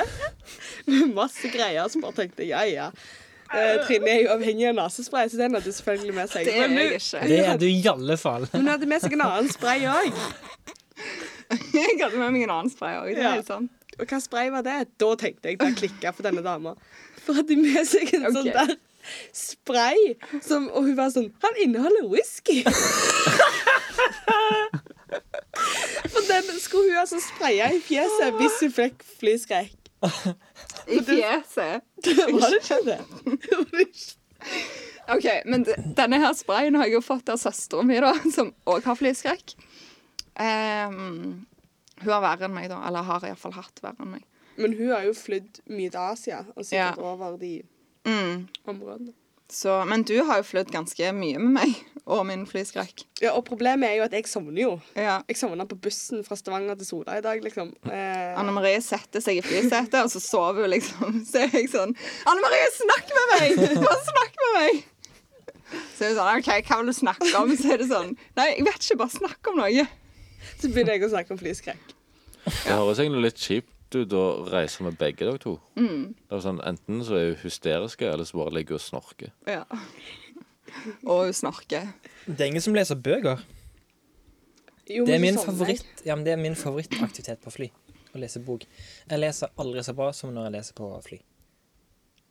Speaker 2: med masse greier. Så bare tenkte jeg ja, ja. Eh, Trine er jo avhengig av nesespray, så den hadde hun selvfølgelig med seg.
Speaker 1: Det er
Speaker 2: Men
Speaker 1: jeg
Speaker 2: hun-
Speaker 1: ikke. *laughs*
Speaker 4: Det er du i alle fall.
Speaker 2: hun hadde med seg en annen spray òg.
Speaker 1: Jeg hadde med meg en annen spray òg.
Speaker 2: Ja.
Speaker 1: Ja. *laughs* Sånn.
Speaker 2: Og hva spray var det? Da tenkte jeg, da klikka for denne dama. For hadde med seg en sånn
Speaker 1: Ok.
Speaker 2: der spray, som, og hun var sånn Han inneholder whisky! for den skulle hun altså spraye i fjeset hvis hun fikk flyskrekk.
Speaker 1: I fjeset.
Speaker 2: Var det ikke det?
Speaker 1: OK, men d- denne her sprayen har jeg jo fått av søstera mi, da, *laughs* som òg har flyskrekk. Ehm, hun har verre enn meg, da. Eller har iallfall hatt verre enn meg.
Speaker 2: Men hun har jo flydd mye til Asia, og sikkert
Speaker 1: Ja.
Speaker 2: over de
Speaker 1: Mm.
Speaker 2: områdene.
Speaker 1: Så, men du har jo flydd ganske mye med meg og min flyskrekk.
Speaker 2: Ja, Og problemet er jo at jeg sovner jo.
Speaker 1: Ja.
Speaker 2: Jeg sovna på bussen fra Stavanger til Sola i dag, liksom. Eh,
Speaker 1: Anne Marie setter seg i flysetet, og så sover hun liksom. *laughs* Så er jeg sånn Anne Marie, snakk med meg! Bare snakk med meg! Så er hun sånn OK, hva vil du snakke om? Så er det sånn Nei, jeg vet ikke. Bare snakk om noe.
Speaker 2: så begynner jeg å snakke om flyskrekk.
Speaker 3: Det høres egentlig litt kjipt ut å reise med begge dere to. Det er sånn, enten så er hun hysteriske, eller så bare ligger hun og snorker.
Speaker 1: Ja. Og hun snorker.
Speaker 4: *laughs* Det er ingen som leser bøker.
Speaker 2: Jo,
Speaker 4: Det er
Speaker 2: men
Speaker 4: min
Speaker 2: så sovner jeg.
Speaker 4: favoritt ja, men det er min favorittaktivitet på fly. Å lese bok. Jeg leser aldri så bra som når jeg leser på fly.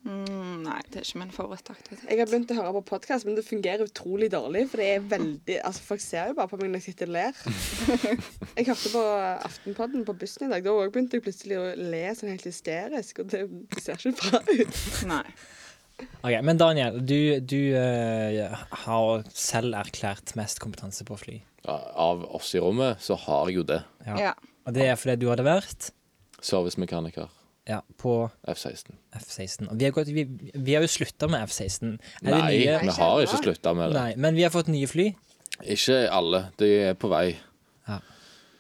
Speaker 1: Mm, Nei, det er ikke min favorittaktivitet.
Speaker 2: Jeg har begynt å høre på podkast, men det fungerer utrolig dårlig. For det er veldig Altså, Folk ser jo bare på meg når jeg sitter og ler.
Speaker 1: *laughs*
Speaker 2: Jeg hørte på Aftenpodden på bussen i dag. Da også begynte jeg plutselig å le sånn helt hysterisk, og det ser ikke bra ut.
Speaker 1: Nei.
Speaker 4: Ok, Men Daniel, du, du eh, har selv erklært mest kompetanse på fly.
Speaker 3: Ja, av oss i rommet så har jeg jo det.
Speaker 1: Ja.
Speaker 4: Og det er fordi du hadde vært
Speaker 3: Servicemekaniker
Speaker 4: ja, på
Speaker 3: F-16.
Speaker 4: F-16. Og vi har, gått, vi, vi har jo slutta med F-16. Er det
Speaker 3: Nei,
Speaker 4: nye?
Speaker 3: vi har ikke slutta med det.
Speaker 4: Nei, men vi har fått nye fly.
Speaker 3: Ikke alle. De er på vei.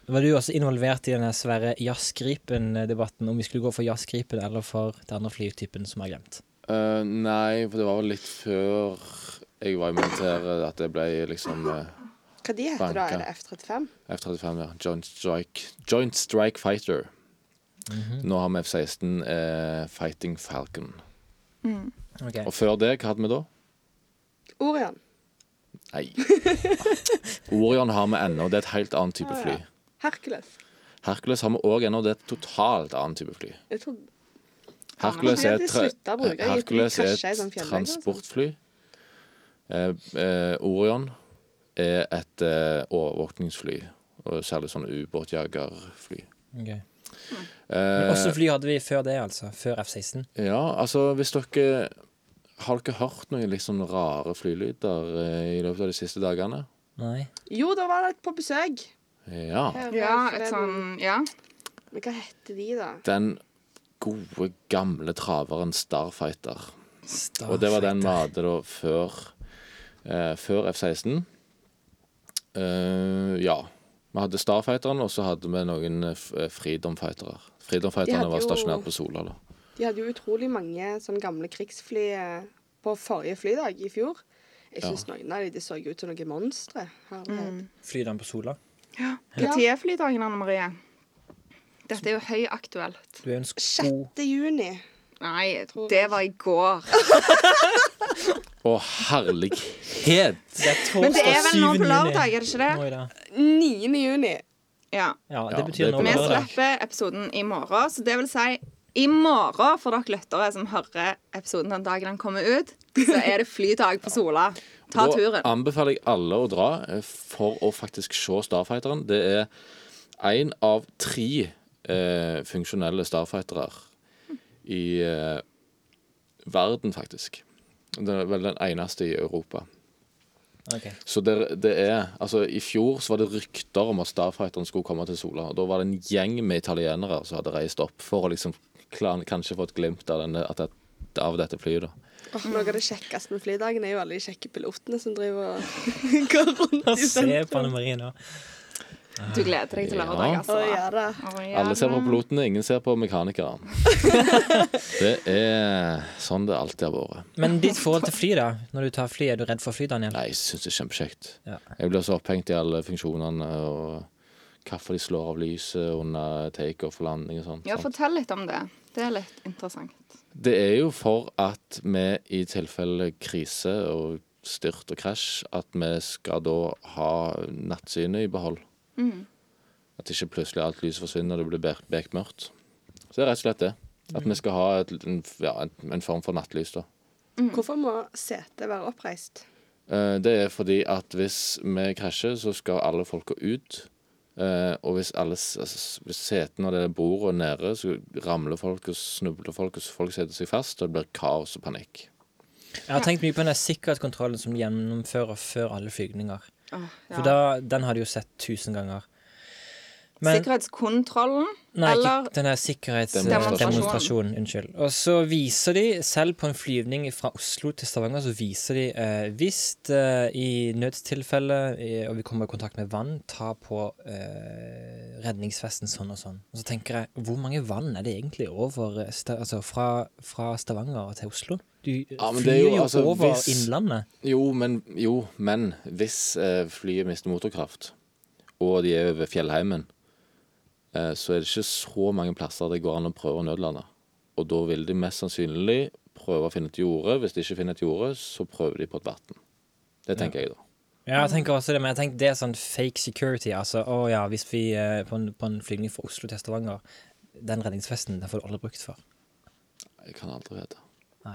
Speaker 4: Var du også involvert i den her svære jazzgripen-debatten, om vi skulle gå for jazzgripen eller for den andre flytypen som jeg har glemt?
Speaker 3: Eh, nei, for det var vel litt før jeg var i militæret at det ble liksom eh,
Speaker 2: Hva de heter da?
Speaker 3: Banker.
Speaker 2: Er det F-35?
Speaker 3: F-35, ja. Joint Strike, Joint Strike Fighter. Nå har vi F-16 eh, Fighting Falcon.
Speaker 4: Ok.
Speaker 3: Og før det, hva hadde vi da?
Speaker 2: Orion.
Speaker 3: Nei. Orion har vi ennå. Det er et helt annet type fly.
Speaker 2: Hercules.
Speaker 3: Hercules har vi òg ennå. Det er et totalt annet type fly.
Speaker 2: Jeg trodde
Speaker 3: Hercules er
Speaker 2: Ja,
Speaker 3: et,
Speaker 2: men de slutta å bruke det. De
Speaker 3: Hercules er
Speaker 2: krasja i sånn
Speaker 3: et
Speaker 2: fjellegg, altså.
Speaker 3: transportfly. Eh, eh, Orion er et eh, overvåkningsfly. Og særlig sånn ubåtjagerfly.
Speaker 4: Ok. Men
Speaker 3: Eh,
Speaker 4: Også fly hadde vi før det, altså. Før F-16.
Speaker 3: ja, altså hvis dere Har dere hørt noen litt sånn rare flylyder eh, i løpet av de siste dagene?
Speaker 4: Nei.
Speaker 2: Jo, da var det på besøk.
Speaker 3: Ja.
Speaker 2: Her var
Speaker 1: Ja,
Speaker 2: det
Speaker 1: et
Speaker 2: forleden.
Speaker 1: sånn Ja.
Speaker 2: Men hva heter de, da?
Speaker 3: Den gode, gamle traveren Starfighter. Og det var den vi hadde da før, eh, før F-16. Eh, ja. Vi hadde Starfighteren, og så hadde vi noen eh, f- eh, Freedom Fightere. Freedom Fighterne
Speaker 2: hadde
Speaker 3: var
Speaker 2: jo-
Speaker 3: stasjonert på Sola. da
Speaker 2: De hadde jo utrolig mange sånn gamle krigsfly eh, på forrige flydag i fjor. Jeg syns noen av de, de så ut som noen monstre. Herlighet.
Speaker 1: Mm.
Speaker 4: Flyden på Sola.
Speaker 2: Ja.
Speaker 1: Når er flydagen, Anne Marie? Dette er jo høyaktuelt.
Speaker 4: Du er en sko...
Speaker 2: 6. juni.
Speaker 1: Nei, det var i går.
Speaker 3: Å, herlighet!
Speaker 4: Det er
Speaker 1: Men det er
Speaker 4: torsdag
Speaker 1: vel nå
Speaker 4: 7.
Speaker 1: på
Speaker 4: juni.
Speaker 1: lørdag, er det ikke
Speaker 4: Nå
Speaker 1: det?
Speaker 4: i dag.
Speaker 2: 9. juni.
Speaker 1: Ja.
Speaker 4: Ja,
Speaker 3: Ja,
Speaker 4: det
Speaker 3: det
Speaker 4: betyr
Speaker 3: er på
Speaker 4: nå på
Speaker 1: Vi
Speaker 4: lørdag.
Speaker 1: slipper episoden i morgen, så det vil si i morgen for dere lyttere som hører episoden den dagen den kommer ut, så er det flydag på Sola. Ta
Speaker 3: Da
Speaker 1: turen.
Speaker 3: anbefaler jeg alle å dra eh, for å faktisk se Starfighteren. Det er én av tre eh, funksjonelle Starfightere i eh, verden, faktisk. Det er vel den eneste i Europa.
Speaker 4: Ok.
Speaker 3: Så det, det er, altså I fjor så var det rykter om at Starfighteren skulle komme til Sola. og Da var det en gjeng med italienere som hadde reist opp for å liksom klar, kanskje få et glimt av, denne, at det- av dette flyet. da.
Speaker 2: Åh, noe av det kjekkeste med flydagen er jo alle de kjekke pilotene som driver og *laughs* går rundt i
Speaker 4: Se på
Speaker 2: sentrum.
Speaker 4: Anne Marie nå.
Speaker 1: Du gleder deg til
Speaker 3: Ja.
Speaker 1: lørdag,
Speaker 2: Å,
Speaker 1: altså.
Speaker 2: ja da.
Speaker 1: Å, ja.
Speaker 3: Alle ser på pilotene, ingen ser på
Speaker 1: *laughs*
Speaker 3: mekanikeren. Det er sånn det alltid har vært.
Speaker 4: Men ditt forhold til fly, da? Når du tar fly, er du redd for fly, Daniel?
Speaker 3: Nei, jeg syns det er kjempekjekt.
Speaker 4: Ja.
Speaker 3: Jeg blir så opphengt i alle funksjonene og hvorfor de slår av lyset under takeoff og landing og sånn.
Speaker 1: Ja, fortell litt om det. Det er litt interessant.
Speaker 3: Det er jo for at vi i tilfelle krise og styrt og krasj, at vi skal da ha nattsynet i behold. At ikke plutselig alt lyset forsvinner og det blir bek- bekmørkt. Så det er rett og slett det. At vi skal ha et, en, ja, en, en form for nattlys, da.
Speaker 2: Hvorfor må setet være oppreist?
Speaker 3: Eh, Det er fordi at hvis vi krasjer, så skal alle folka ut. Eh, og hvis alle s- s- hvis setene og det bordet er nede, så ramler folk og snubler folk, og så folk setter seg fast, og det blir kaos og panikk.
Speaker 4: Jeg har tenkt mye på den der sikkerhetskontrollen som de gjennomfører før alle flygninger.
Speaker 1: Åh, ja.
Speaker 4: For da, den har du jo sett tusen ganger. Men
Speaker 1: Sikkerhetskontrollen,
Speaker 4: Nei,
Speaker 1: eller
Speaker 4: ikke den her
Speaker 3: Demonstrasjon.
Speaker 4: sikkerhetsdemonstrasjonen. Unnskyld. Og så viser de, selv på en flyvning fra Oslo til Stavanger, så viser de eh, hvis eh, i nødstilfelle eh, og vi kommer i kontakt med vann, ta på eh, redningsvesten sånn og sånn. Og så tenker jeg, hvor mange vann er det egentlig over eh, sta, altså fra, fra Stavanger til Oslo? Du
Speaker 3: Ja, men det er
Speaker 4: flyr
Speaker 3: jo,
Speaker 4: jo
Speaker 3: altså,
Speaker 4: over
Speaker 3: hvis-
Speaker 4: Innlandet.
Speaker 3: Jo, men, jo, men hvis eh, flyet mister motorkraft, og de er over fjellheimen, eh, så er det ikke så mange plasser det går an å prøve å nødlande. Og da vil de mest sannsynlig prøve å finne et jorde. Hvis de ikke finner et jorde, så prøver de på et vann. Det tenker jeg, da.
Speaker 4: Ja, jeg tenker også det, men jeg tenker det er sånn fake security. Altså, å ja, hvis vi eh, på en, på en flygning fra Oslo til Stavanger Den redningsvesten den får du aldri brukt for.
Speaker 3: Jeg kan aldri vite.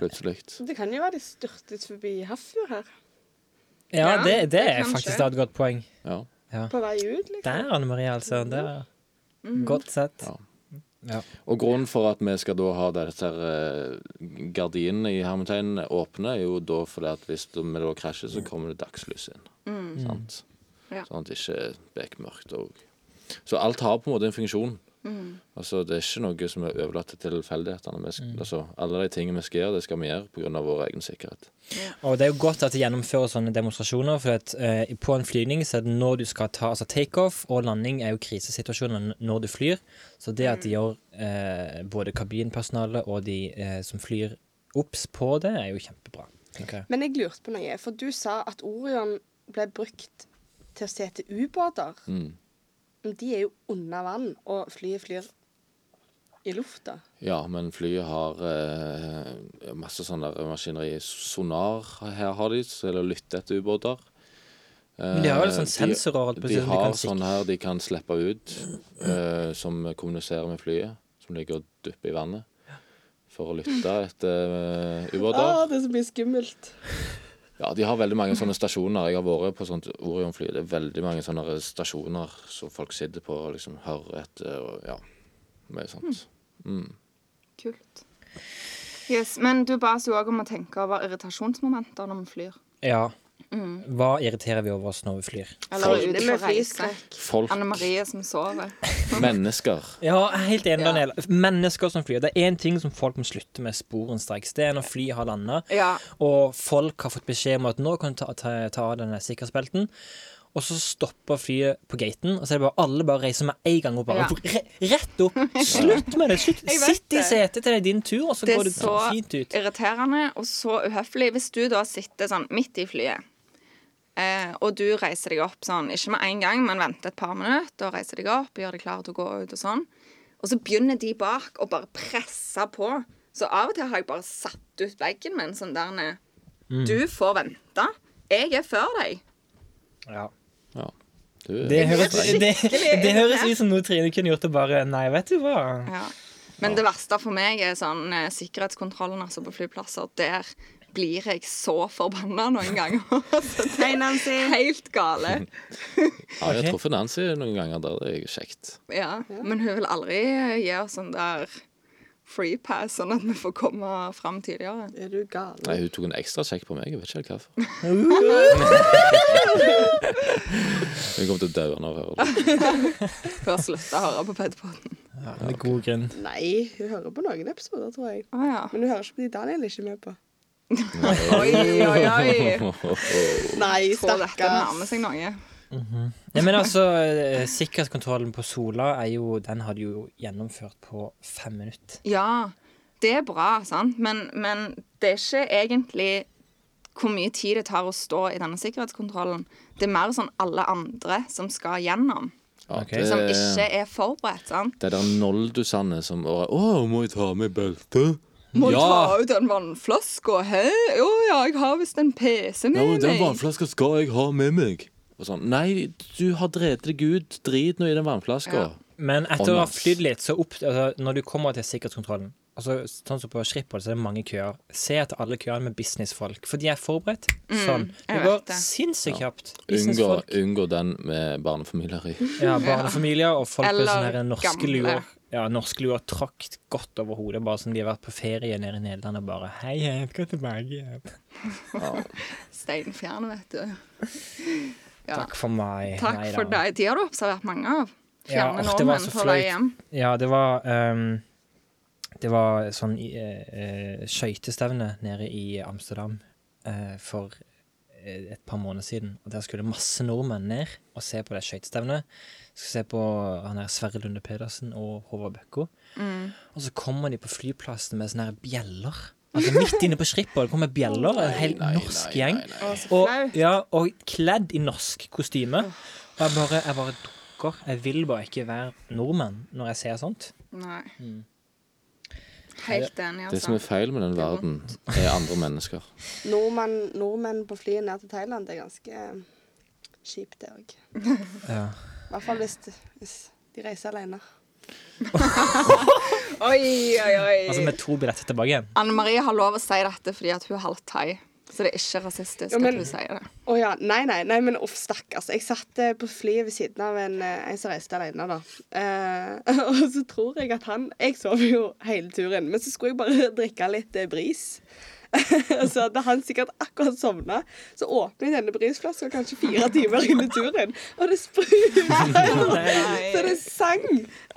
Speaker 3: Plutselig.
Speaker 2: Det kan jo være de styrtet forbi Hafjord her.
Speaker 4: Ja,
Speaker 1: Ja,
Speaker 4: det, det,
Speaker 1: det
Speaker 4: er
Speaker 1: kan
Speaker 4: faktisk
Speaker 1: skje.
Speaker 4: et godt poeng.
Speaker 3: Ja.
Speaker 2: På vei ut, liksom.
Speaker 4: Der, Anne Marie, altså. Der. Godt sett.
Speaker 3: Ja.
Speaker 4: Ja.
Speaker 3: Og grunnen for at vi skal da ha disse her eh, gardinene i hermetegnene åpne, er jo da fordi at hvis vi da krasjer, så kommer det dagslys inn. Sant?
Speaker 1: Ja.
Speaker 3: Sånn at det ikke er bekmørkt. Og... Så alt har på en måte en funksjon. Altså, det er ikke noe som er overlatt til tilfeldighetene. Vi sk- Altså, alle de tingene vi skal gjøre, det skal vi gjøre pga. vår egen sikkerhet.
Speaker 4: Og det er jo godt at de gjennomfører sånne demonstrasjoner, for at, eh, på en flygning så er det når du skal ta altså takeoff og landing er jo krisesituasjoner når du flyr. Så det at de gjør eh, både kabinpersonalet og de eh, som flyr obs på det, er jo kjempebra. tenker jeg.
Speaker 2: Men jeg lurte på noe, for du sa at Orion ble brukt til å se til ubåter. Men de er jo under vann, og flyet flyr i lufta.
Speaker 3: Ja, men flyet har eh, masse sånn der maskineri. Sonar her har de, så er det å lytte etter ubåter.
Speaker 4: Men de har jo sånn
Speaker 3: de-
Speaker 4: sensorer og alt på
Speaker 3: De
Speaker 4: siden, de
Speaker 3: har
Speaker 4: kan sikre-
Speaker 3: sånn her de kan slippe ut, eh, som kommuniserer med flyet, som ligger og dupper i vannet. For å lytte etter eh,
Speaker 2: Å,
Speaker 3: ubåter.
Speaker 2: det er så mye skummelt.
Speaker 3: Ja, de har veldig mange sånne stasjoner. Jeg har vært på sånt Orion-fly. Det er veldig mange sånne stasjoner som folk sitter på og liksom hører etter og ja. Mye sånt.
Speaker 1: Kult. Yes, men du ba oss jo òg om å tenke over irritasjonsmomenter når vi flyr.
Speaker 4: Ja.
Speaker 1: Mm.
Speaker 4: Hva irriterer vi over oss når vi flyr?
Speaker 1: Eller er
Speaker 3: Folk-
Speaker 1: ute
Speaker 2: Det med
Speaker 1: på reise.
Speaker 2: flyskrekk.
Speaker 3: Folk,
Speaker 1: Anne Marie som sover.
Speaker 3: mennesker.
Speaker 4: Ja, jeg er helt enig, Daniel. Mennesker som flyr. Det er én ting som folk må slutte med sporenstreks. Det er når flyet har landa,
Speaker 1: Ja.
Speaker 4: og folk har fått beskjed om at nå kan du ta, ta, ta av denne sikkerhetsbelten. Og så stopper flyet på gaten, og så er det bare alle bare reiser med en gang opp. Bare,
Speaker 1: Ja.
Speaker 4: re, rett opp! Slutt med det! Slutt.
Speaker 1: *laughs* Jeg vet
Speaker 4: Sitt i
Speaker 1: det.
Speaker 4: setet til det er din tur, og så
Speaker 1: Det
Speaker 4: går
Speaker 1: er
Speaker 4: det
Speaker 1: så
Speaker 4: fint ut.
Speaker 1: irriterende og så uhøflig. Hvis du da sitter sånn midt i flyet, eh, og du reiser deg opp sånn, ikke med en gang, men venter et par minutter, og reiser deg opp, gjør deg klar til å gå ut og sånn, og så begynner de bak å bare presse på. Så av og til har jeg bare satt ut veggen min sånn der nede. Du får vente. Jeg er før deg.
Speaker 3: Ja. Du, er-
Speaker 4: Det høres,
Speaker 1: Skikkelig
Speaker 4: det, det høres
Speaker 1: irritert.
Speaker 4: ut som noe Trine kunne gjort, og bare Nei, vet du hva.
Speaker 1: *laughs* Ja. Men det verste for meg er sånn eh, sikkerhetskontrollen altså på flyplasser. Der blir jeg så forbanna noen *laughs* ganger. Så det
Speaker 2: Hei, Nancy.
Speaker 1: er helt gale.
Speaker 3: ja, jeg
Speaker 4: Ok.
Speaker 3: har truffet Nancy noen ganger der det er kjekt.
Speaker 1: Ja. Men hun vil aldri gi oss sånn der free pass, sånn at vi får komme fram tidligere.
Speaker 2: Er du gal?
Speaker 3: Nei, hun tok en ekstra sjekk på meg. Jeg vet ikke helt hvorfor.
Speaker 4: Uhuh.
Speaker 3: Hun kommer til å dø når hun hører det.
Speaker 1: Før jeg slutter å høre på Pedpoden.
Speaker 4: Ja, med god grunn.
Speaker 2: Nei, hun hører på noen episoder, tror jeg.
Speaker 1: Å ja.
Speaker 2: Men hun hører ikke på de Daniel er ikke med på.
Speaker 1: Oi,
Speaker 3: *laughs*
Speaker 1: oi, oi.
Speaker 2: Nei,
Speaker 1: Tror dette
Speaker 2: stakkars.
Speaker 1: nærmer seg noe.
Speaker 4: Nei, men altså, eh, sikkerhetskontrollen på Sola er jo Den hadde jo gjennomført på fem minutter.
Speaker 1: Ja, det er bra, sant? Men, men det er ikke egentlig hvor mye tid det tar å stå i denne sikkerhetskontrollen. Det er mer sånn alle andre som skal gjennom,
Speaker 3: Ja,
Speaker 4: *laughs* Ok.
Speaker 3: det,
Speaker 1: som ikke er forberedt. sant?
Speaker 3: det er der Noldusane som bare Å, må jeg ta med belte?
Speaker 1: Må jeg
Speaker 3: ja!
Speaker 1: ta ut den vannflaska? Hæ? Å ja, jeg har visst en PC med
Speaker 3: Ja, men den
Speaker 1: meg.
Speaker 3: vannflaska skal jeg ha med meg. Og sånn, Nei, du har drept deg ut. Drit nå i den vannflaska.
Speaker 4: Men etter
Speaker 3: Å,
Speaker 4: å ha
Speaker 3: nice.
Speaker 4: flydd litt, så opp altså, Når du kommer til sikkerhetskontrollen altså, Sånn som på Schiphol, så er det mange køer. Se etter alle køene med businessfolk, for de er forberedt. Sånn. Det
Speaker 1: jeg
Speaker 4: går
Speaker 1: vet det.
Speaker 4: sinnssykt kjapt.
Speaker 3: Unngå,
Speaker 4: Businessfolk.
Speaker 3: unngå den med barnefamilier i.
Speaker 4: Ja, barnefamilier og folk med
Speaker 1: Eller
Speaker 4: sånne her norske
Speaker 1: gamle.
Speaker 4: luer. Ja, norske luer trakt godt over hodet, bare som de har vært på ferie nede i Nederland og bare Hei, hei, gå tilbake igjen.
Speaker 1: Steinfjerne, vet du. *laughs* Ja.
Speaker 4: Takk for meg.
Speaker 1: Takk
Speaker 4: Nei
Speaker 1: for
Speaker 4: da.
Speaker 1: deg. De har du observert mange av.
Speaker 4: Ja,
Speaker 1: Fjerne
Speaker 4: åh, det var
Speaker 1: nordmenn
Speaker 4: så
Speaker 1: på vei
Speaker 4: flaut.
Speaker 1: hjem.
Speaker 4: Ja, det var ehm, Det var sånn uh, skøytestevne nede i Amsterdam eh, for eh, et par måneder siden. Og der skulle masse nordmenn ned og se på det skøytestevnet. Skulle se på han her Sverre Lunde Pedersen og Håvard Bøkko.
Speaker 1: Mm.
Speaker 4: Og så kommer de på flyplassen med sånne her bjeller. Altså Midt inne på Schiphol kommer bjeller, en hel norsk gjeng. Og, ja, og kledd i norsk kostyme. Og jeg bare, jeg bare dukker. Jeg vil bare ikke være nordmann når jeg ser sånt.
Speaker 1: Nei.
Speaker 4: Mm.
Speaker 1: Helt enig,
Speaker 3: Det
Speaker 1: altså.
Speaker 3: som er feil med den verden, er andre mennesker.
Speaker 2: Nordmenn, nordmenn på flyet ned til Thailand, det er ganske eh, kjipt, det òg.
Speaker 4: *laughs* Ja.
Speaker 2: I hvert fall hvis, hvis de reiser alene.
Speaker 1: Oi, *laughs* oi, oi.
Speaker 4: Altså med to billetter tilbake igjen.
Speaker 1: Anne Marie har lov å si dette fordi at hun er halvt thai. Så det er ikke rasistisk
Speaker 2: Jo,
Speaker 1: at
Speaker 2: men-
Speaker 1: hun sier det.
Speaker 2: Å ja. Nei, nei, nei, men uff, stakkars. Jeg satt eh, på flyet ved siden av en, eh, en som reiste alene, da. Eh, *laughs* og så tror jeg at han Jeg sov jo hele turen, men så skulle jeg bare drikke litt eh, bris. *laughs* Og så hadde han sikkert akkurat sovna. Så åpner jeg denne brisflaska kanskje fire timer inn i turen, og det spruta jo! Så det sang!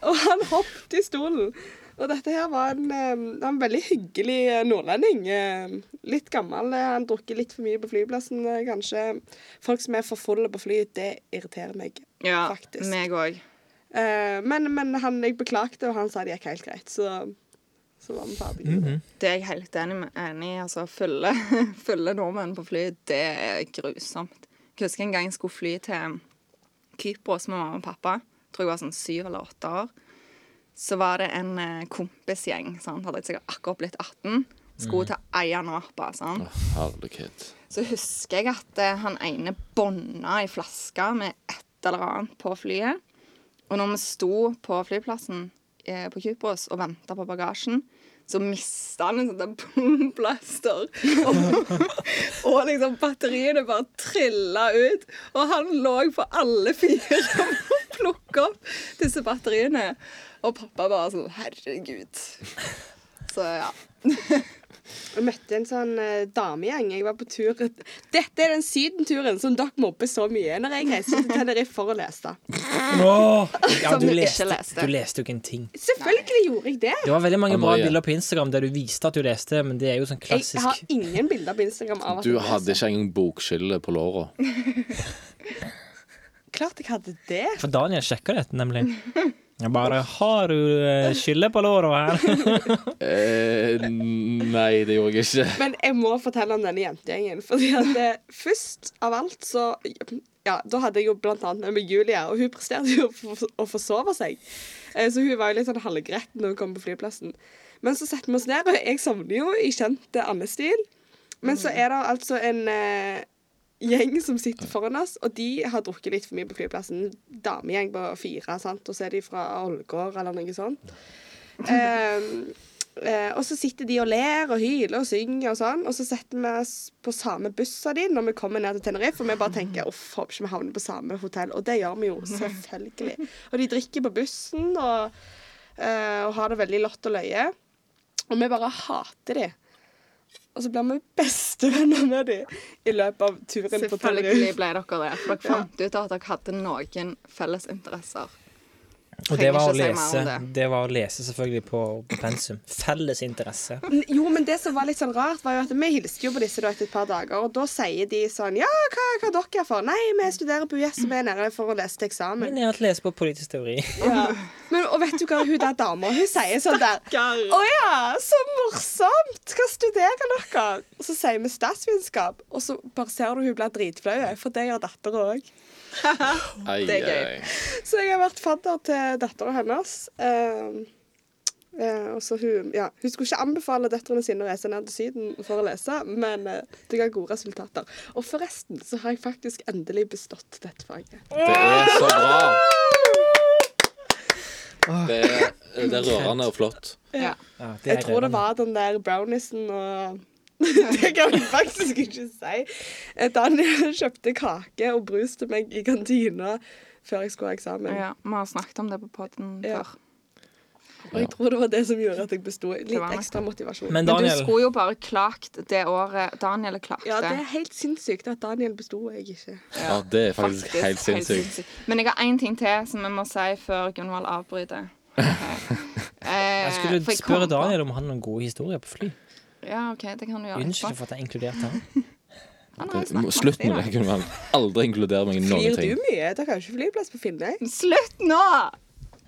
Speaker 2: Og han hoppet i stolen. Og dette her var en, eh, en veldig hyggelig eh, nordlending. eh, Litt gammel. eh, Han drukker litt for mye på flyplassen, eh, kanskje. Folk som er for fulle på fly, det irriterer meg.
Speaker 1: Ja,
Speaker 2: Faktisk.
Speaker 1: meg òg.
Speaker 2: Eh, Men, men han, jeg beklagte, og han sa det gikk helt greit. Så, så var vi ferdige. med det.
Speaker 1: Det er jeg helt enig med enig i. Altså, fulle, *laughs* fulle nordmenn på fly, det er grusomt. Jeg husker en gang jeg skulle fly til Kypros med mamma og pappa. Tror jeg var sånn syv eller åtte år. Så var det en eh, kompisgjeng. Sant? Hadde jeg sikkert akkurat blitt 18. Skulle til Ayia Napa. Sant?
Speaker 3: Å, Herlighet.
Speaker 1: Så husker jeg at eh, han ene bånda ei flaske med et eller annet på flyet. Og når vi sto på flyplassen eh, på Kypros og venta på bagasjen, så mista han en sånn der bomplaster. Og, og liksom batteriene bare trilla ut. Og han lå på alle fire og plukka opp disse batteriene. Og pappa bare sånn Herregud. Så ja.
Speaker 2: Jeg møtte en sånn eh, damegjeng. Jeg var på tur Dette er den sydenturen som dere mobber så mye når jeg reiser til Tenerife for å lese.
Speaker 4: Ja,
Speaker 1: Som du
Speaker 4: du
Speaker 1: ikke
Speaker 4: leste,
Speaker 1: leste.
Speaker 4: du leste jo ikke en ting.
Speaker 2: Selvfølgelig gjorde jeg det!
Speaker 4: Det var veldig mange
Speaker 3: Ja,
Speaker 4: bra
Speaker 3: Marie.
Speaker 4: bilder på Instagram der du viste at du leste, men det er jo sånn
Speaker 2: Jeg har
Speaker 4: klassisk
Speaker 2: ingen bilder på Instagram av at
Speaker 3: Du
Speaker 2: jeg leser.
Speaker 3: hadde ikke engang bokskille på låra.
Speaker 2: Klart jeg hadde det.
Speaker 4: For Daniel sjekka dette, nemlig. Jeg bare Har du eh, skille på låra her?
Speaker 3: Eh, nei, det gjorde jeg ikke.
Speaker 2: Men jeg må fortelle om denne jentegjengen. Fordi at det, først av alt så Ja, da hadde jeg jo blant annet med meg Julia, og hun presterte jo å for- å forsove seg. Eh, Så hun var jo litt sånn halvgretten når hun kom på flyplassen. Men så setter vi oss ned, og jeg sovner jo i kjent eh, andestil. Men så er det altså en eh, gjeng som sitter foran oss, og de har drukket litt for mye på flyplassen. Damegjeng på fire, sant? og så er de fra Ålgård eller noe sånt. Ehm, eh, og så sitter de og ler og hyler og synger og sånn. Og så setter vi oss på samme bussa di når vi kommer ned til Tenerife. Og vi bare tenker uff, håper ikke vi havner på samme hotell. Og det gjør vi jo, selvfølgelig. Og de drikker på bussen og, eh, og har det veldig lott og løye. Og vi bare hater de. Og så blir vi bestevenner med de i løpet av turen på
Speaker 1: Selvfølgelig
Speaker 2: Tenerife.
Speaker 1: ble dere det. For dere fant ut at dere hadde noen felles interesser.
Speaker 4: Og det var å
Speaker 1: Trenger ikke si
Speaker 4: lese.
Speaker 1: mer om
Speaker 4: Det var å lese selvfølgelig på på pensum. Felles interesse.
Speaker 2: Jo, men det som var litt sånn rart, var jo at vi hilste jo på disse da etter et par dager, og da sier de sånn Ja, hva, hva dere er for? Nei, vi studerer på US, og vi er nede for å lese til eksamen.
Speaker 4: Men jeg har ikke lest på politisk teori. *laughs*
Speaker 2: Ja. Men, og vet du hva hun der dama hun sier sånn der Å ja, så morsomt! Hva studerer dere? Og så sier vi statsvitenskap, og så bare ser du hun blir dritflau, for det gjør dattera òg.
Speaker 3: Ai,
Speaker 1: *laughs* Det er gøy.
Speaker 3: ai.
Speaker 2: Så jeg har vært fadder til dattera hennes. eh, eh, og så hun, ja, hun skulle ikke anbefale døtrene sine å reise ned til Syden for å lese, men eh, det ga gode resultater. Og forresten så har jeg faktisk endelig bestått dette faget.
Speaker 3: Det er så bra. Det er, det er rørende og flott.
Speaker 1: Ja.
Speaker 4: Ja, det er
Speaker 2: Jeg tror det
Speaker 4: rørende.
Speaker 2: var den der browniesen og *laughs* Det kan jeg faktisk ikke si. Eh, Daniel *laughs* kjøpte kake og brus til meg i kantina før jeg skulle ha eksamen.
Speaker 1: Ja, vi har snakket om det på poden
Speaker 2: Ja.
Speaker 1: før.
Speaker 2: Og jeg tror det var det som gjorde at jeg besto.
Speaker 1: var
Speaker 2: Litt
Speaker 1: nok
Speaker 2: ekstra motivasjon.
Speaker 1: Men
Speaker 4: Men
Speaker 1: du
Speaker 4: Daniel,
Speaker 1: skulle jo bare klagt det året Daniel klagde.
Speaker 2: Ja, det er helt sinnssykt at Daniel besto og jeg ikke.
Speaker 3: Ja, det er faktisk, helt sinnssykt.
Speaker 1: Men jeg har én ting til som jeg må si før Gunvald
Speaker 4: *laughs*
Speaker 1: avbryter. Eh,
Speaker 4: jeg
Speaker 1: for
Speaker 4: skulle
Speaker 1: jeg kom
Speaker 4: spørre
Speaker 1: på-
Speaker 4: Daniel om han har noen gode historier på fly.
Speaker 1: Ja, OK, det kan du gjøre.
Speaker 4: Unnskyld
Speaker 1: etterpå.
Speaker 4: for at jeg inkluderte han.
Speaker 1: Han har jo
Speaker 3: Det,
Speaker 1: snakket masse
Speaker 3: slutt
Speaker 1: i
Speaker 3: med
Speaker 1: dag.
Speaker 3: det. Gunvald. Aldri inkludere meg i noen
Speaker 2: Flyr du
Speaker 3: ting.
Speaker 2: mye? Dere har jo ikke flyplass på Finnøy.
Speaker 1: Slutt nå!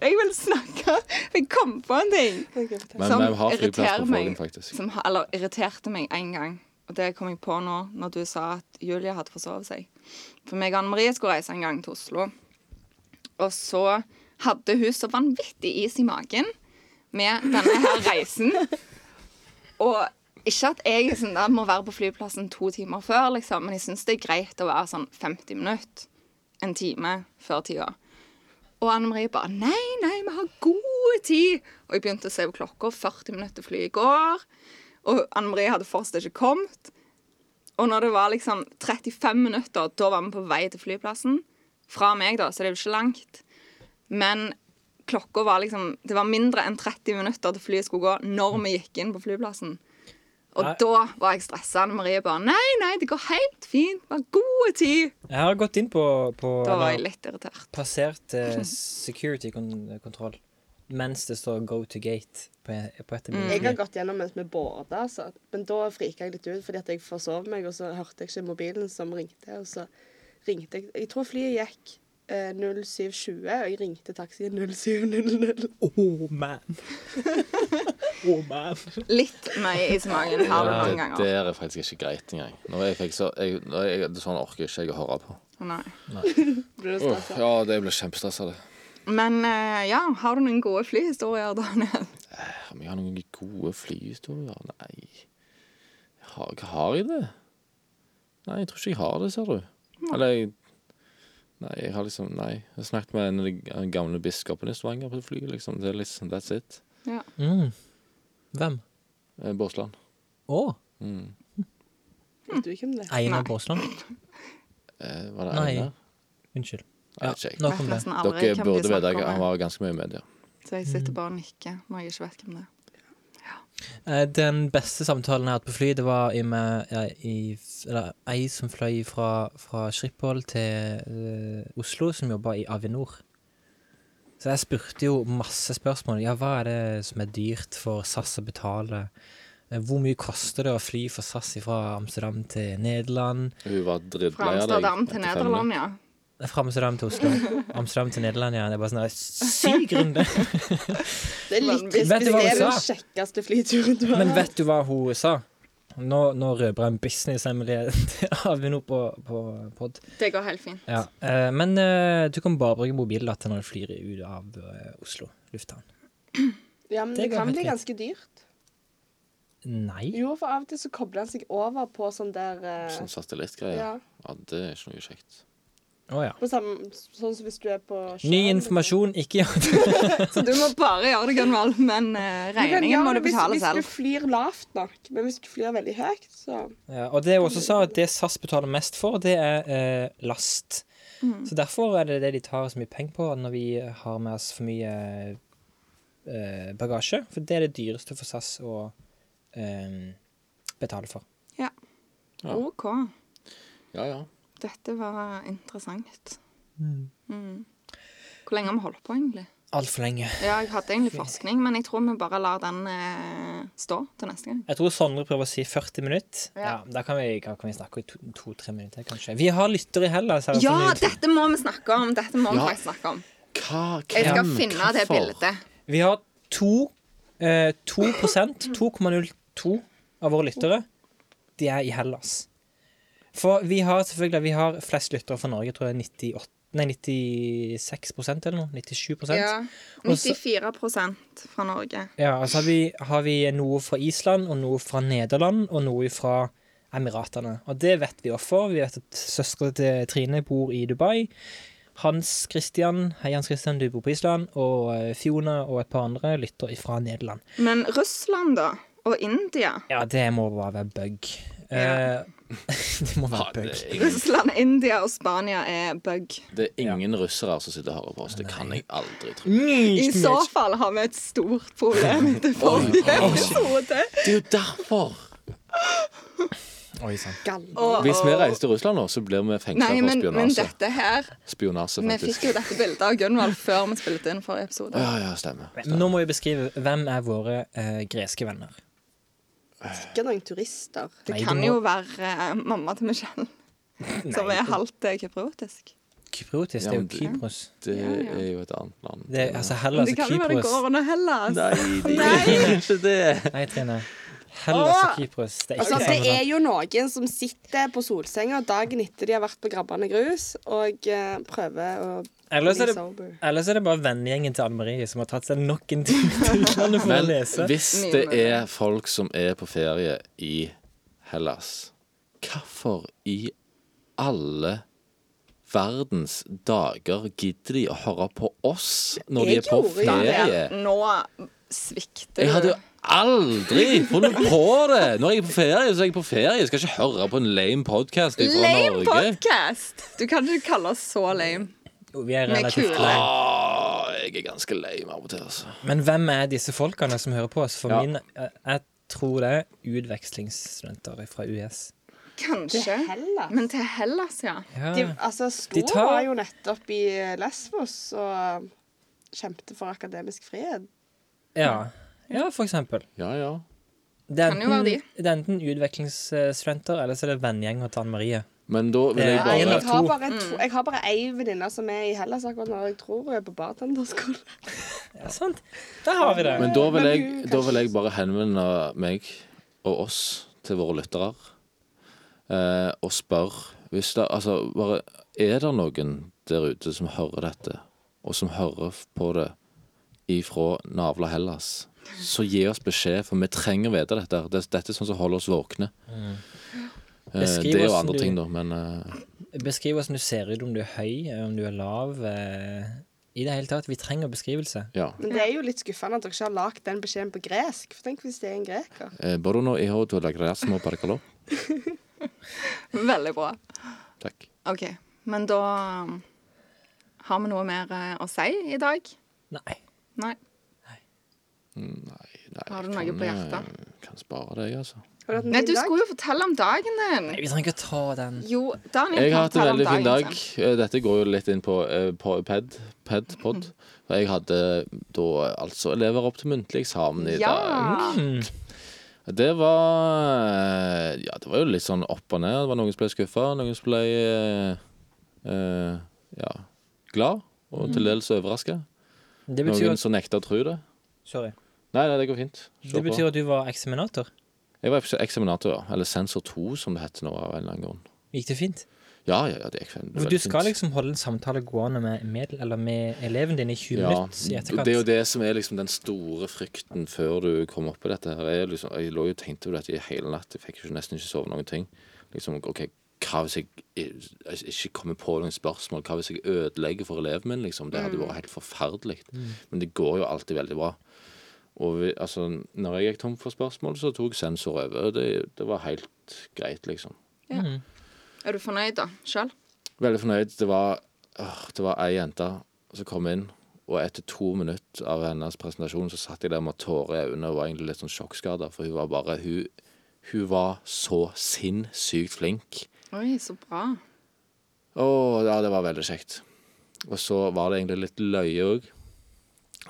Speaker 1: Jeg vil snakke. Jeg kom på en ting.
Speaker 3: Men
Speaker 1: Som
Speaker 3: vi har flyplass
Speaker 1: irriterer
Speaker 3: på Fågen,
Speaker 1: meg.
Speaker 3: faktisk.
Speaker 1: som ha- eller, irriterte meg en gang. Og det kom jeg på nå når du sa at Julia hadde forsovet seg. For meg og Anne Marie skulle reise en gang til Oslo. Og så hadde hun så vanvittig is i magen med denne her reisen. Og ikke at jeg er sånn, da må være på flyplassen to timer før, liksom, men jeg syns det er greit å være sånn 50 minutter, en time, før tida. Og Anne Marie bare Nei, nei, vi har god tid. Og jeg begynte å se på klokka. 40 minutter til flyet i går. Og Anne Marie hadde fortsatt ikke kommet. Og når det var liksom 35 minutter, da var vi på vei til flyplassen. Fra meg, da, så det er jo ikke langt. Men klokka var liksom Det var mindre enn 30 minutter til flyet skulle gå når vi gikk inn på flyplassen. Og
Speaker 4: Nei.
Speaker 1: da var jeg stressa. Anne Marie bare Nei, nei, det går helt fint. Vi har god tid.
Speaker 4: Jeg har gått inn på, på
Speaker 1: Da var jeg
Speaker 4: eller
Speaker 1: litt irritert. *laughs*
Speaker 4: passert eh, security kon kontroll mens det står go to gate på, på et av
Speaker 1: Mm.
Speaker 4: mine
Speaker 2: Jeg har
Speaker 4: fly.
Speaker 2: gått gjennom mens vi båda, altså. men da frika jeg litt ut fordi at jeg forsov meg, og så hørte jeg ikke mobilen som ringte. Og så ringte jeg Jeg tror flyet gikk eh, 07.20, og jeg ringte taxien 07.00.
Speaker 4: Oh man. oh man.
Speaker 1: Litt mye is i magen har du
Speaker 3: Ja,
Speaker 1: noen
Speaker 3: det
Speaker 1: ganger.
Speaker 3: der er faktisk ikke greit engang. Når jeg fikk så, jeg, når jeg, det er sånn orker ikke jeg å høre på.
Speaker 1: Nei.
Speaker 2: Ble du
Speaker 3: Uff,
Speaker 2: stressa?
Speaker 3: ja, det ble kjempestressa, det.
Speaker 1: Men eh, ja, har du noen gode flyhistorier, Daniel?
Speaker 3: Eh, Om jeg har noen gode flyhistorier? Nei. Jeg Har, hva har jeg det? Nei, jeg tror ikke jeg har det, ser du. Eller jeg Nei, jeg har liksom Nei. Jeg har snakket med en av de g- den gamle biskopen i Stavanger på flyet, liksom. Det er liksom That's it.
Speaker 1: Ja.
Speaker 4: Mm. Hvem?
Speaker 3: Eh, Båsland.
Speaker 4: Å,
Speaker 2: Vet du ikke om det?
Speaker 4: Einar Båsland?
Speaker 3: Eh, var det
Speaker 4: Nei.
Speaker 3: Einar?
Speaker 4: Unnskyld.
Speaker 3: Nei,
Speaker 4: Ja,
Speaker 3: ikke jeg.
Speaker 4: nok
Speaker 1: Vet
Speaker 4: om det.
Speaker 1: nesten aldri
Speaker 3: Dere
Speaker 1: hvem de
Speaker 3: burde vite
Speaker 1: snakker
Speaker 3: at han
Speaker 1: med.
Speaker 3: var ganske mye i media.
Speaker 1: Så jeg sitter bare og nikker når jeg ikke vet hvem det er.
Speaker 4: Eh, Den beste samtalen jeg har hatt på fly, det var i med ja, i, eller, ei som fløy fra, fra Schiphol til eh, Oslo, som jobba i Avinor. Så jeg spurte jo masse spørsmål. Ja, hva er det som er dyrt for SAS å betale? Eh, Hvor mye koster det å fly for SAS fra Amsterdam til Nederland? Eh,
Speaker 3: Hun var
Speaker 1: Fra
Speaker 3: drittlei av deg.
Speaker 1: Amsterdam til
Speaker 3: etter fem
Speaker 1: Nederland, ja.
Speaker 4: Fra Amsterdam til Oslo. Amsterdam til Nederland igjen. Det er bare sånn der syk runde.
Speaker 2: Det er litt
Speaker 1: Vet
Speaker 2: trist.
Speaker 4: du hva
Speaker 2: Det
Speaker 4: hun
Speaker 2: er den
Speaker 4: sa?
Speaker 2: kjekkeste flyturen du har
Speaker 4: Men vet du hva hun sa? Nå, nå røper jeg en businesshemmelighet til Avinor på, på pod.
Speaker 1: Det går helt fint.
Speaker 4: Ja. eh, men eh, du kan bare bruke mobildata når du flyr ut av eh, Oslo lufthavn.
Speaker 2: Ja, men
Speaker 4: Det
Speaker 2: det,
Speaker 4: går
Speaker 2: kan
Speaker 4: helt
Speaker 2: bli
Speaker 4: fint.
Speaker 2: ganske dyrt.
Speaker 4: Nei.
Speaker 2: Jo, for av og til så kobler han seg over på sånn der eh,
Speaker 3: Sånn satellittgreier. Ja.
Speaker 2: Ja.
Speaker 3: det er ikke noe kjekt.
Speaker 4: Å ja.
Speaker 2: på samme, Sånn som hvis du er på sjøen,
Speaker 4: Ny
Speaker 2: liksom.
Speaker 4: informasjon, ikke ja. *laughs*
Speaker 1: Så du må bare gjøre det, Gunvald. Men eh,
Speaker 2: Du kan
Speaker 1: regningen
Speaker 2: gjøre
Speaker 1: må du
Speaker 2: det
Speaker 1: betale
Speaker 2: hvis,
Speaker 1: selv.
Speaker 2: Hvis du flyr lavt nok, men hvis du flyr veldig høyt, så
Speaker 4: Ja, Og det hun også sa, at det SAS betaler mest for, det er eh, last. Så derfor er det det de tar så mye penger på når vi har med oss for mye eh, bagasje. For det er det dyreste for SAS å eh, betale for.
Speaker 1: Ja. OK.
Speaker 3: Ja, ja.
Speaker 1: Dette var interessant. Mm. Hvor lenge har vi holdt på, egentlig?
Speaker 4: Altfor lenge.
Speaker 1: Ja, jeg hadde egentlig forskning, men jeg tror vi bare lar den eh, stå til neste gang.
Speaker 4: Jeg tror Sondre prøver å si 40 minutter. Ja.
Speaker 1: Ja.
Speaker 4: Da kan vi, kan kan vi snakke i to- to-tre minutter, kanskje. Vi har lyttere i Hellas. her,
Speaker 1: Ja,
Speaker 4: som vi-
Speaker 1: dette må vi snakke om! Dette må vi
Speaker 3: Ja.
Speaker 1: faktisk snakke om.
Speaker 3: Hva, hvem,
Speaker 1: Jeg skal finne det
Speaker 3: hvorfor?
Speaker 1: bildet.
Speaker 4: Vi har to, eh, 2 2,02 av våre lyttere. De er i Hellas. For vi har selvfølgelig vi har flest lyttere fra Norge, tror jeg 98, nei, 96 eller noe. 97
Speaker 1: Ja.
Speaker 4: Og så-
Speaker 1: 94 fra Norge.
Speaker 4: Ja, altså har vi, har vi noe fra Island, og noe fra Nederland, og noe fra Emiratene. Og det vet vi hvorfor. Vi vet at søstera til Trine bor i Dubai. Hans Christian, hei Hans Christian, du bor på Island. Og eh, Fiona og et par andre lytter fra Nederland.
Speaker 1: Men Russland, da? Og India?
Speaker 4: Ja, det må bare være bug.
Speaker 1: Ja.
Speaker 4: Eh, *laughs* det må være
Speaker 3: Ja, det,
Speaker 4: bug.
Speaker 3: er ingen,
Speaker 1: Russland, India og Spania er bug.
Speaker 3: det er ingen russere som sitter og hører på oss. Det kan jeg aldri tro.
Speaker 1: I så fall har vi et stort problem
Speaker 3: *laughs*
Speaker 1: etter forrige episode.
Speaker 3: Det er jo derfor!
Speaker 4: Oi sann.
Speaker 1: Og-
Speaker 3: Hvis vi
Speaker 1: og-
Speaker 3: reiser til Russland nå, så blir vi fengsla
Speaker 1: Nei, men,
Speaker 3: for
Speaker 1: men
Speaker 3: spionasje.
Speaker 1: dette her
Speaker 3: Spionasje,
Speaker 1: Vi
Speaker 3: faktisk.
Speaker 1: fikk jo dette bildet av Gunvald før vi spilte inn forrige episode.
Speaker 3: Ja, ja, stemmer.
Speaker 4: Nå må vi beskrive hvem er våre eh, greske venner.
Speaker 2: Ikke noen turister.
Speaker 1: Det
Speaker 4: Nei, du
Speaker 1: kan
Speaker 4: må-
Speaker 1: jo være eh, mamma til Michelle, som er halvt eh, kypriotisk.
Speaker 4: Kypriotisk,
Speaker 3: Ja,
Speaker 4: det er
Speaker 3: men
Speaker 4: jo
Speaker 3: det-
Speaker 4: Kypros.
Speaker 3: Det er jo et annet land.
Speaker 4: Det er, altså
Speaker 1: Men
Speaker 4: Hellas
Speaker 1: det
Speaker 4: og
Speaker 1: kan jo være det går
Speaker 4: Kypros.
Speaker 1: under Hellas.
Speaker 3: Nei, det er ikke det.
Speaker 4: Nei, Trine. Hellas og
Speaker 2: Åh!
Speaker 4: Kypros. Det er ikke det
Speaker 2: Altså, det
Speaker 4: samme
Speaker 2: er
Speaker 4: land.
Speaker 2: jo noen som sitter på solsenga dagen etter de har vært på Grabbane grus, og eh, prøver å
Speaker 4: Ellers er,
Speaker 2: bli
Speaker 4: det,
Speaker 2: sober.
Speaker 4: ellers er det bare vennegjengen til Anne Marie som har tatt seg nok *laughs* en tur til utlandet for å
Speaker 3: Men
Speaker 4: lese.
Speaker 3: hvis det er folk som er på ferie i Hellas, hvorfor i alle verdens dager gidder de å høre på oss når de
Speaker 2: Jeg
Speaker 3: er på
Speaker 2: gjorde jo
Speaker 1: Der,
Speaker 3: ferie?
Speaker 1: Nå svikter
Speaker 3: Jeg hadde
Speaker 1: du.
Speaker 3: jo aldri funnet på det! Når jeg er på ferie, så er jeg på ferie. Jeg skal ikke høre på en lame podkast fra
Speaker 1: Lame
Speaker 3: Norge.
Speaker 1: podcast! Du kan ikke kalle oss så lame.
Speaker 4: Jo, Vi er
Speaker 1: Vi er
Speaker 4: relativt
Speaker 1: kule.
Speaker 4: lei.
Speaker 3: Åh, jeg er ganske lame av og til, altså.
Speaker 4: Men hvem er disse folkene som hører på oss? For
Speaker 3: Ja.
Speaker 4: min, eh, jeg tror det er utvekslingsstudenter fra US.
Speaker 1: Kanskje.
Speaker 2: Hellas?
Speaker 1: Men til Hellas, ja.
Speaker 4: Ja.
Speaker 2: De, altså, Stor
Speaker 4: De tar-
Speaker 2: var jo nettopp i Lesvos og kjempet for akademisk frihet.
Speaker 4: Ja. ja, for eksempel.
Speaker 3: Ja, ja.
Speaker 4: Det er
Speaker 1: Kan jo være
Speaker 4: enten, det er enten utvekslingsstudenter, eller så er det vennegjenger til Anne Marie.
Speaker 3: Men da vil
Speaker 4: Det
Speaker 3: jeg
Speaker 4: Eh, er
Speaker 2: Nei,
Speaker 4: en
Speaker 3: bare
Speaker 4: av
Speaker 2: jeg, har
Speaker 4: to.
Speaker 2: bare to, jeg har bare ei venninne som er i Hellas akkurat nå. og Jeg tror hun er på bartenderskole.
Speaker 4: Ja, sant? Der har vi det.
Speaker 3: Men da vil,
Speaker 2: Men
Speaker 3: jeg,
Speaker 2: du-
Speaker 3: da vil jeg bare henvende meg og oss til våre lyttere eh, og spørre hvis det, altså, bare, Er det noen der ute som hører dette, og som hører f- på det ifra navla Hellas, så gi oss beskjed, for vi trenger å vite dette. her. Det, dette er sånn som holder oss våkne. Eh,
Speaker 4: Beskriv
Speaker 3: det er jo
Speaker 4: oss
Speaker 3: andre
Speaker 4: du-
Speaker 3: ting, da, men eh,
Speaker 4: Beskriv hvordan du ser ut, om du er høy, om du er lav. Eh, I det hele tatt. Vi trenger beskrivelse.
Speaker 3: ja.
Speaker 2: Men det er jo litt skuffende at dere ikke har lagd den beskjeden på gresk. For tenk hvis det er en greker.
Speaker 3: Eh, Bruno Iho Tolagrasmo Paracalo.
Speaker 1: Veldig bra.
Speaker 3: Takk.
Speaker 1: OK. Men da um, har vi noe mer eh, å si i dag?
Speaker 4: Nei.
Speaker 1: Nei.
Speaker 3: Nei, nei,
Speaker 1: Har du
Speaker 3: jeg
Speaker 1: noe på
Speaker 3: kan, eh,
Speaker 1: hjertet?
Speaker 3: Kan spare det, jeg, altså.
Speaker 2: Har du hatt en
Speaker 1: Nei,
Speaker 2: fin
Speaker 1: du
Speaker 2: dag?
Speaker 1: skulle jo fortelle om dagen din.
Speaker 4: Vi trenger ikke ta den.
Speaker 1: Jo, Daniel
Speaker 3: Jeg
Speaker 1: kan
Speaker 3: har hatt en
Speaker 1: fortelle om
Speaker 3: veldig fin
Speaker 1: dagen
Speaker 3: dag.
Speaker 1: sin.
Speaker 3: Eh, Dette går jo litt inn på, eh, på ped, ped,
Speaker 1: *laughs*
Speaker 3: pod. For jeg hadde da eh, altså elever opp til muntlig eksamen i dag.
Speaker 1: Ja.
Speaker 3: Det var eh, Ja, det var jo litt sånn opp og ned. Det var noen som ble skuffa, noen som ble eh, eh, ja, glad og
Speaker 1: Mm.
Speaker 3: til dels overraska.
Speaker 4: Det betyr
Speaker 3: Noen
Speaker 4: at,
Speaker 3: som nekter å tro det.
Speaker 4: sorry.
Speaker 3: Nei, nei, det går fint. Se
Speaker 4: Det
Speaker 3: på.
Speaker 4: betyr at du var eksaminator.
Speaker 3: Jeg var eksaminator, ja. Eller sensor 2, som det heter nå. av en eller annen grunn.
Speaker 4: Gikk det fint?
Speaker 3: Ja, ja, ja, det gikk fint.
Speaker 4: For du skal liksom holde en samtale gående med, med, eller med eleven din i 20
Speaker 3: ja,
Speaker 4: minutter i etterkant.
Speaker 3: Det er jo det som er liksom den store frykten før du kommer opp på dette. her. Jeg, liksom, jeg lå jo og tenkte på dette i hele natt. Jeg fikk jo nesten ikke sove noen ting. Liksom, ok, Hva hvis jeg i- ikke kommer på noen spørsmål? Hva hvis jeg ødelegger for eleven min? Liksom? Det
Speaker 4: Mm.
Speaker 3: hadde jo vært helt forferdelig. Men det går jo alltid veldig bra. Og vi, altså, når jeg gikk tom for spørsmål, så tok sensor over. og Det, det var helt greit, liksom.
Speaker 1: Er du fornøyd, da? Sjøl?
Speaker 3: Veldig fornøyd. Det var, åh, det var ei jente som kom inn, og etter to minutter av hennes presentasjon så satt jeg der med tårer i øynene og var egentlig litt sånn sjokkskada, for hun var bare Hun, hun var så sinnssykt flink.
Speaker 1: Oi, så bra.
Speaker 3: Å, ja, det var veldig kjekt. Og så var det egentlig litt løye òg.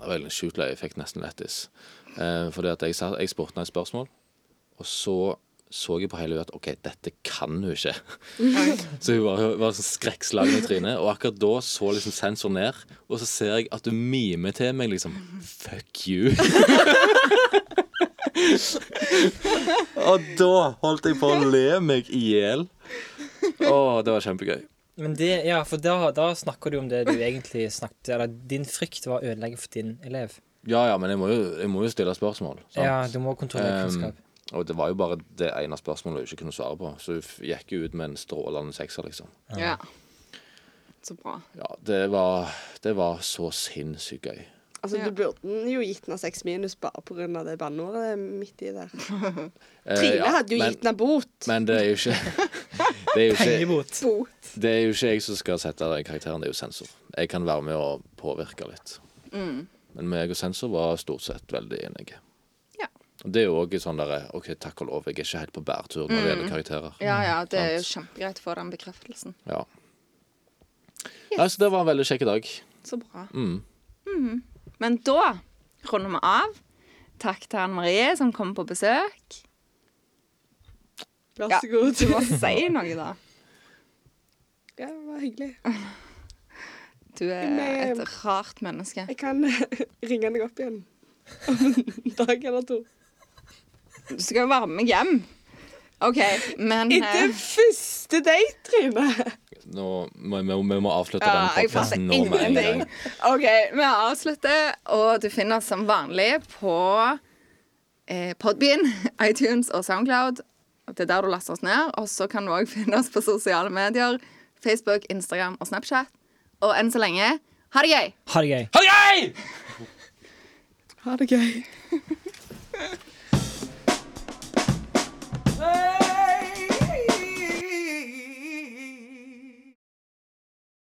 Speaker 3: Veldig sjukt løye. Jeg fikk nesten lettis. Eh, fordi at jeg, sa, jeg spurte henne et spørsmål, og så så jeg på hele henne at OK, dette kan hun ikke. *laughs* så hun var, hun var sånn skrekkslagen i trynet. Og akkurat da så liksom sensor ned, og så ser jeg at hun mimer til meg liksom Fuck you. *laughs* og da holdt jeg på å le meg i hjel. Å, det var kjempegøy.
Speaker 4: Men det, ja, for da, da snakker du om det du egentlig snakket Eller din frykt var å ødelegge for din elev.
Speaker 3: Ja, ja, men jeg må jo, jeg må jo stille spørsmål. sant?
Speaker 4: Ja, du må kontrollere
Speaker 3: Ehm,
Speaker 4: kunnskap.
Speaker 3: og det var jo bare det ene spørsmålet hun ikke kunne svare på. Så hun f- gikk jo ut med en strålende sekser, liksom.
Speaker 1: Ja. Så bra.
Speaker 3: Ja, det var, det var så sinnssykt gøy.
Speaker 2: Altså,
Speaker 1: Ja.
Speaker 2: Du burde jo gitt henne seks minus bare pga. det banneordet midt i der.
Speaker 3: Eh,
Speaker 2: Trine
Speaker 3: ja,
Speaker 2: hadde jo
Speaker 3: men-
Speaker 2: gitt henne bot.
Speaker 3: Men det er jo ikke *laughs* det er jo ikke,
Speaker 4: Pengebot.
Speaker 3: det er jo ikke jeg som skal sette den karakteren, det er jo sensor. Jeg kan være med og påvirke litt.
Speaker 2: Mm.
Speaker 3: Men meg og sensor var stort sett veldig enige.
Speaker 1: Ja.
Speaker 3: Og det er jo òg sånn derre OK, takk og lov, jeg er ikke helt på bærtur når det
Speaker 2: Mm.
Speaker 3: gjelder karakterer.
Speaker 1: Ja, ja, det er jo
Speaker 3: Sant.
Speaker 1: kjempegreit å få den bekreftelsen.
Speaker 3: Ja. Nei, så det var en veldig kjekk dag.
Speaker 1: Så bra.
Speaker 3: Mm.
Speaker 1: Men da runder vi av. Takk til Anne Marie som kom på besøk.
Speaker 2: Vær
Speaker 1: Ja,
Speaker 2: så god.
Speaker 1: Du må si noe, da.
Speaker 2: Ja, det var hyggelig.
Speaker 1: Du er et rart menneske.
Speaker 2: Jeg kan eh, ringe deg opp igjen *laughs* om en dag eller to.
Speaker 1: Du skal jo være med meg hjem. OK, men
Speaker 2: Etter
Speaker 1: eh,
Speaker 2: første date, Trine.
Speaker 3: Nå må vi, vi må avslutte
Speaker 1: ja,
Speaker 3: denne
Speaker 1: jeg fatter
Speaker 3: podkasten nå med en gang.
Speaker 1: ingenting. OK, vi avslutter, og du finner oss som vanlig på eh, Podbean, *laughs* iTunes og Soundcloud. Det er der du laster oss ned. Og så kan du òg finne oss på sosiale medier. Facebook, Instagram og Snapchat. Og enn så lenge ha det gøy!
Speaker 4: Ha det gøy.
Speaker 2: Ha det gøy.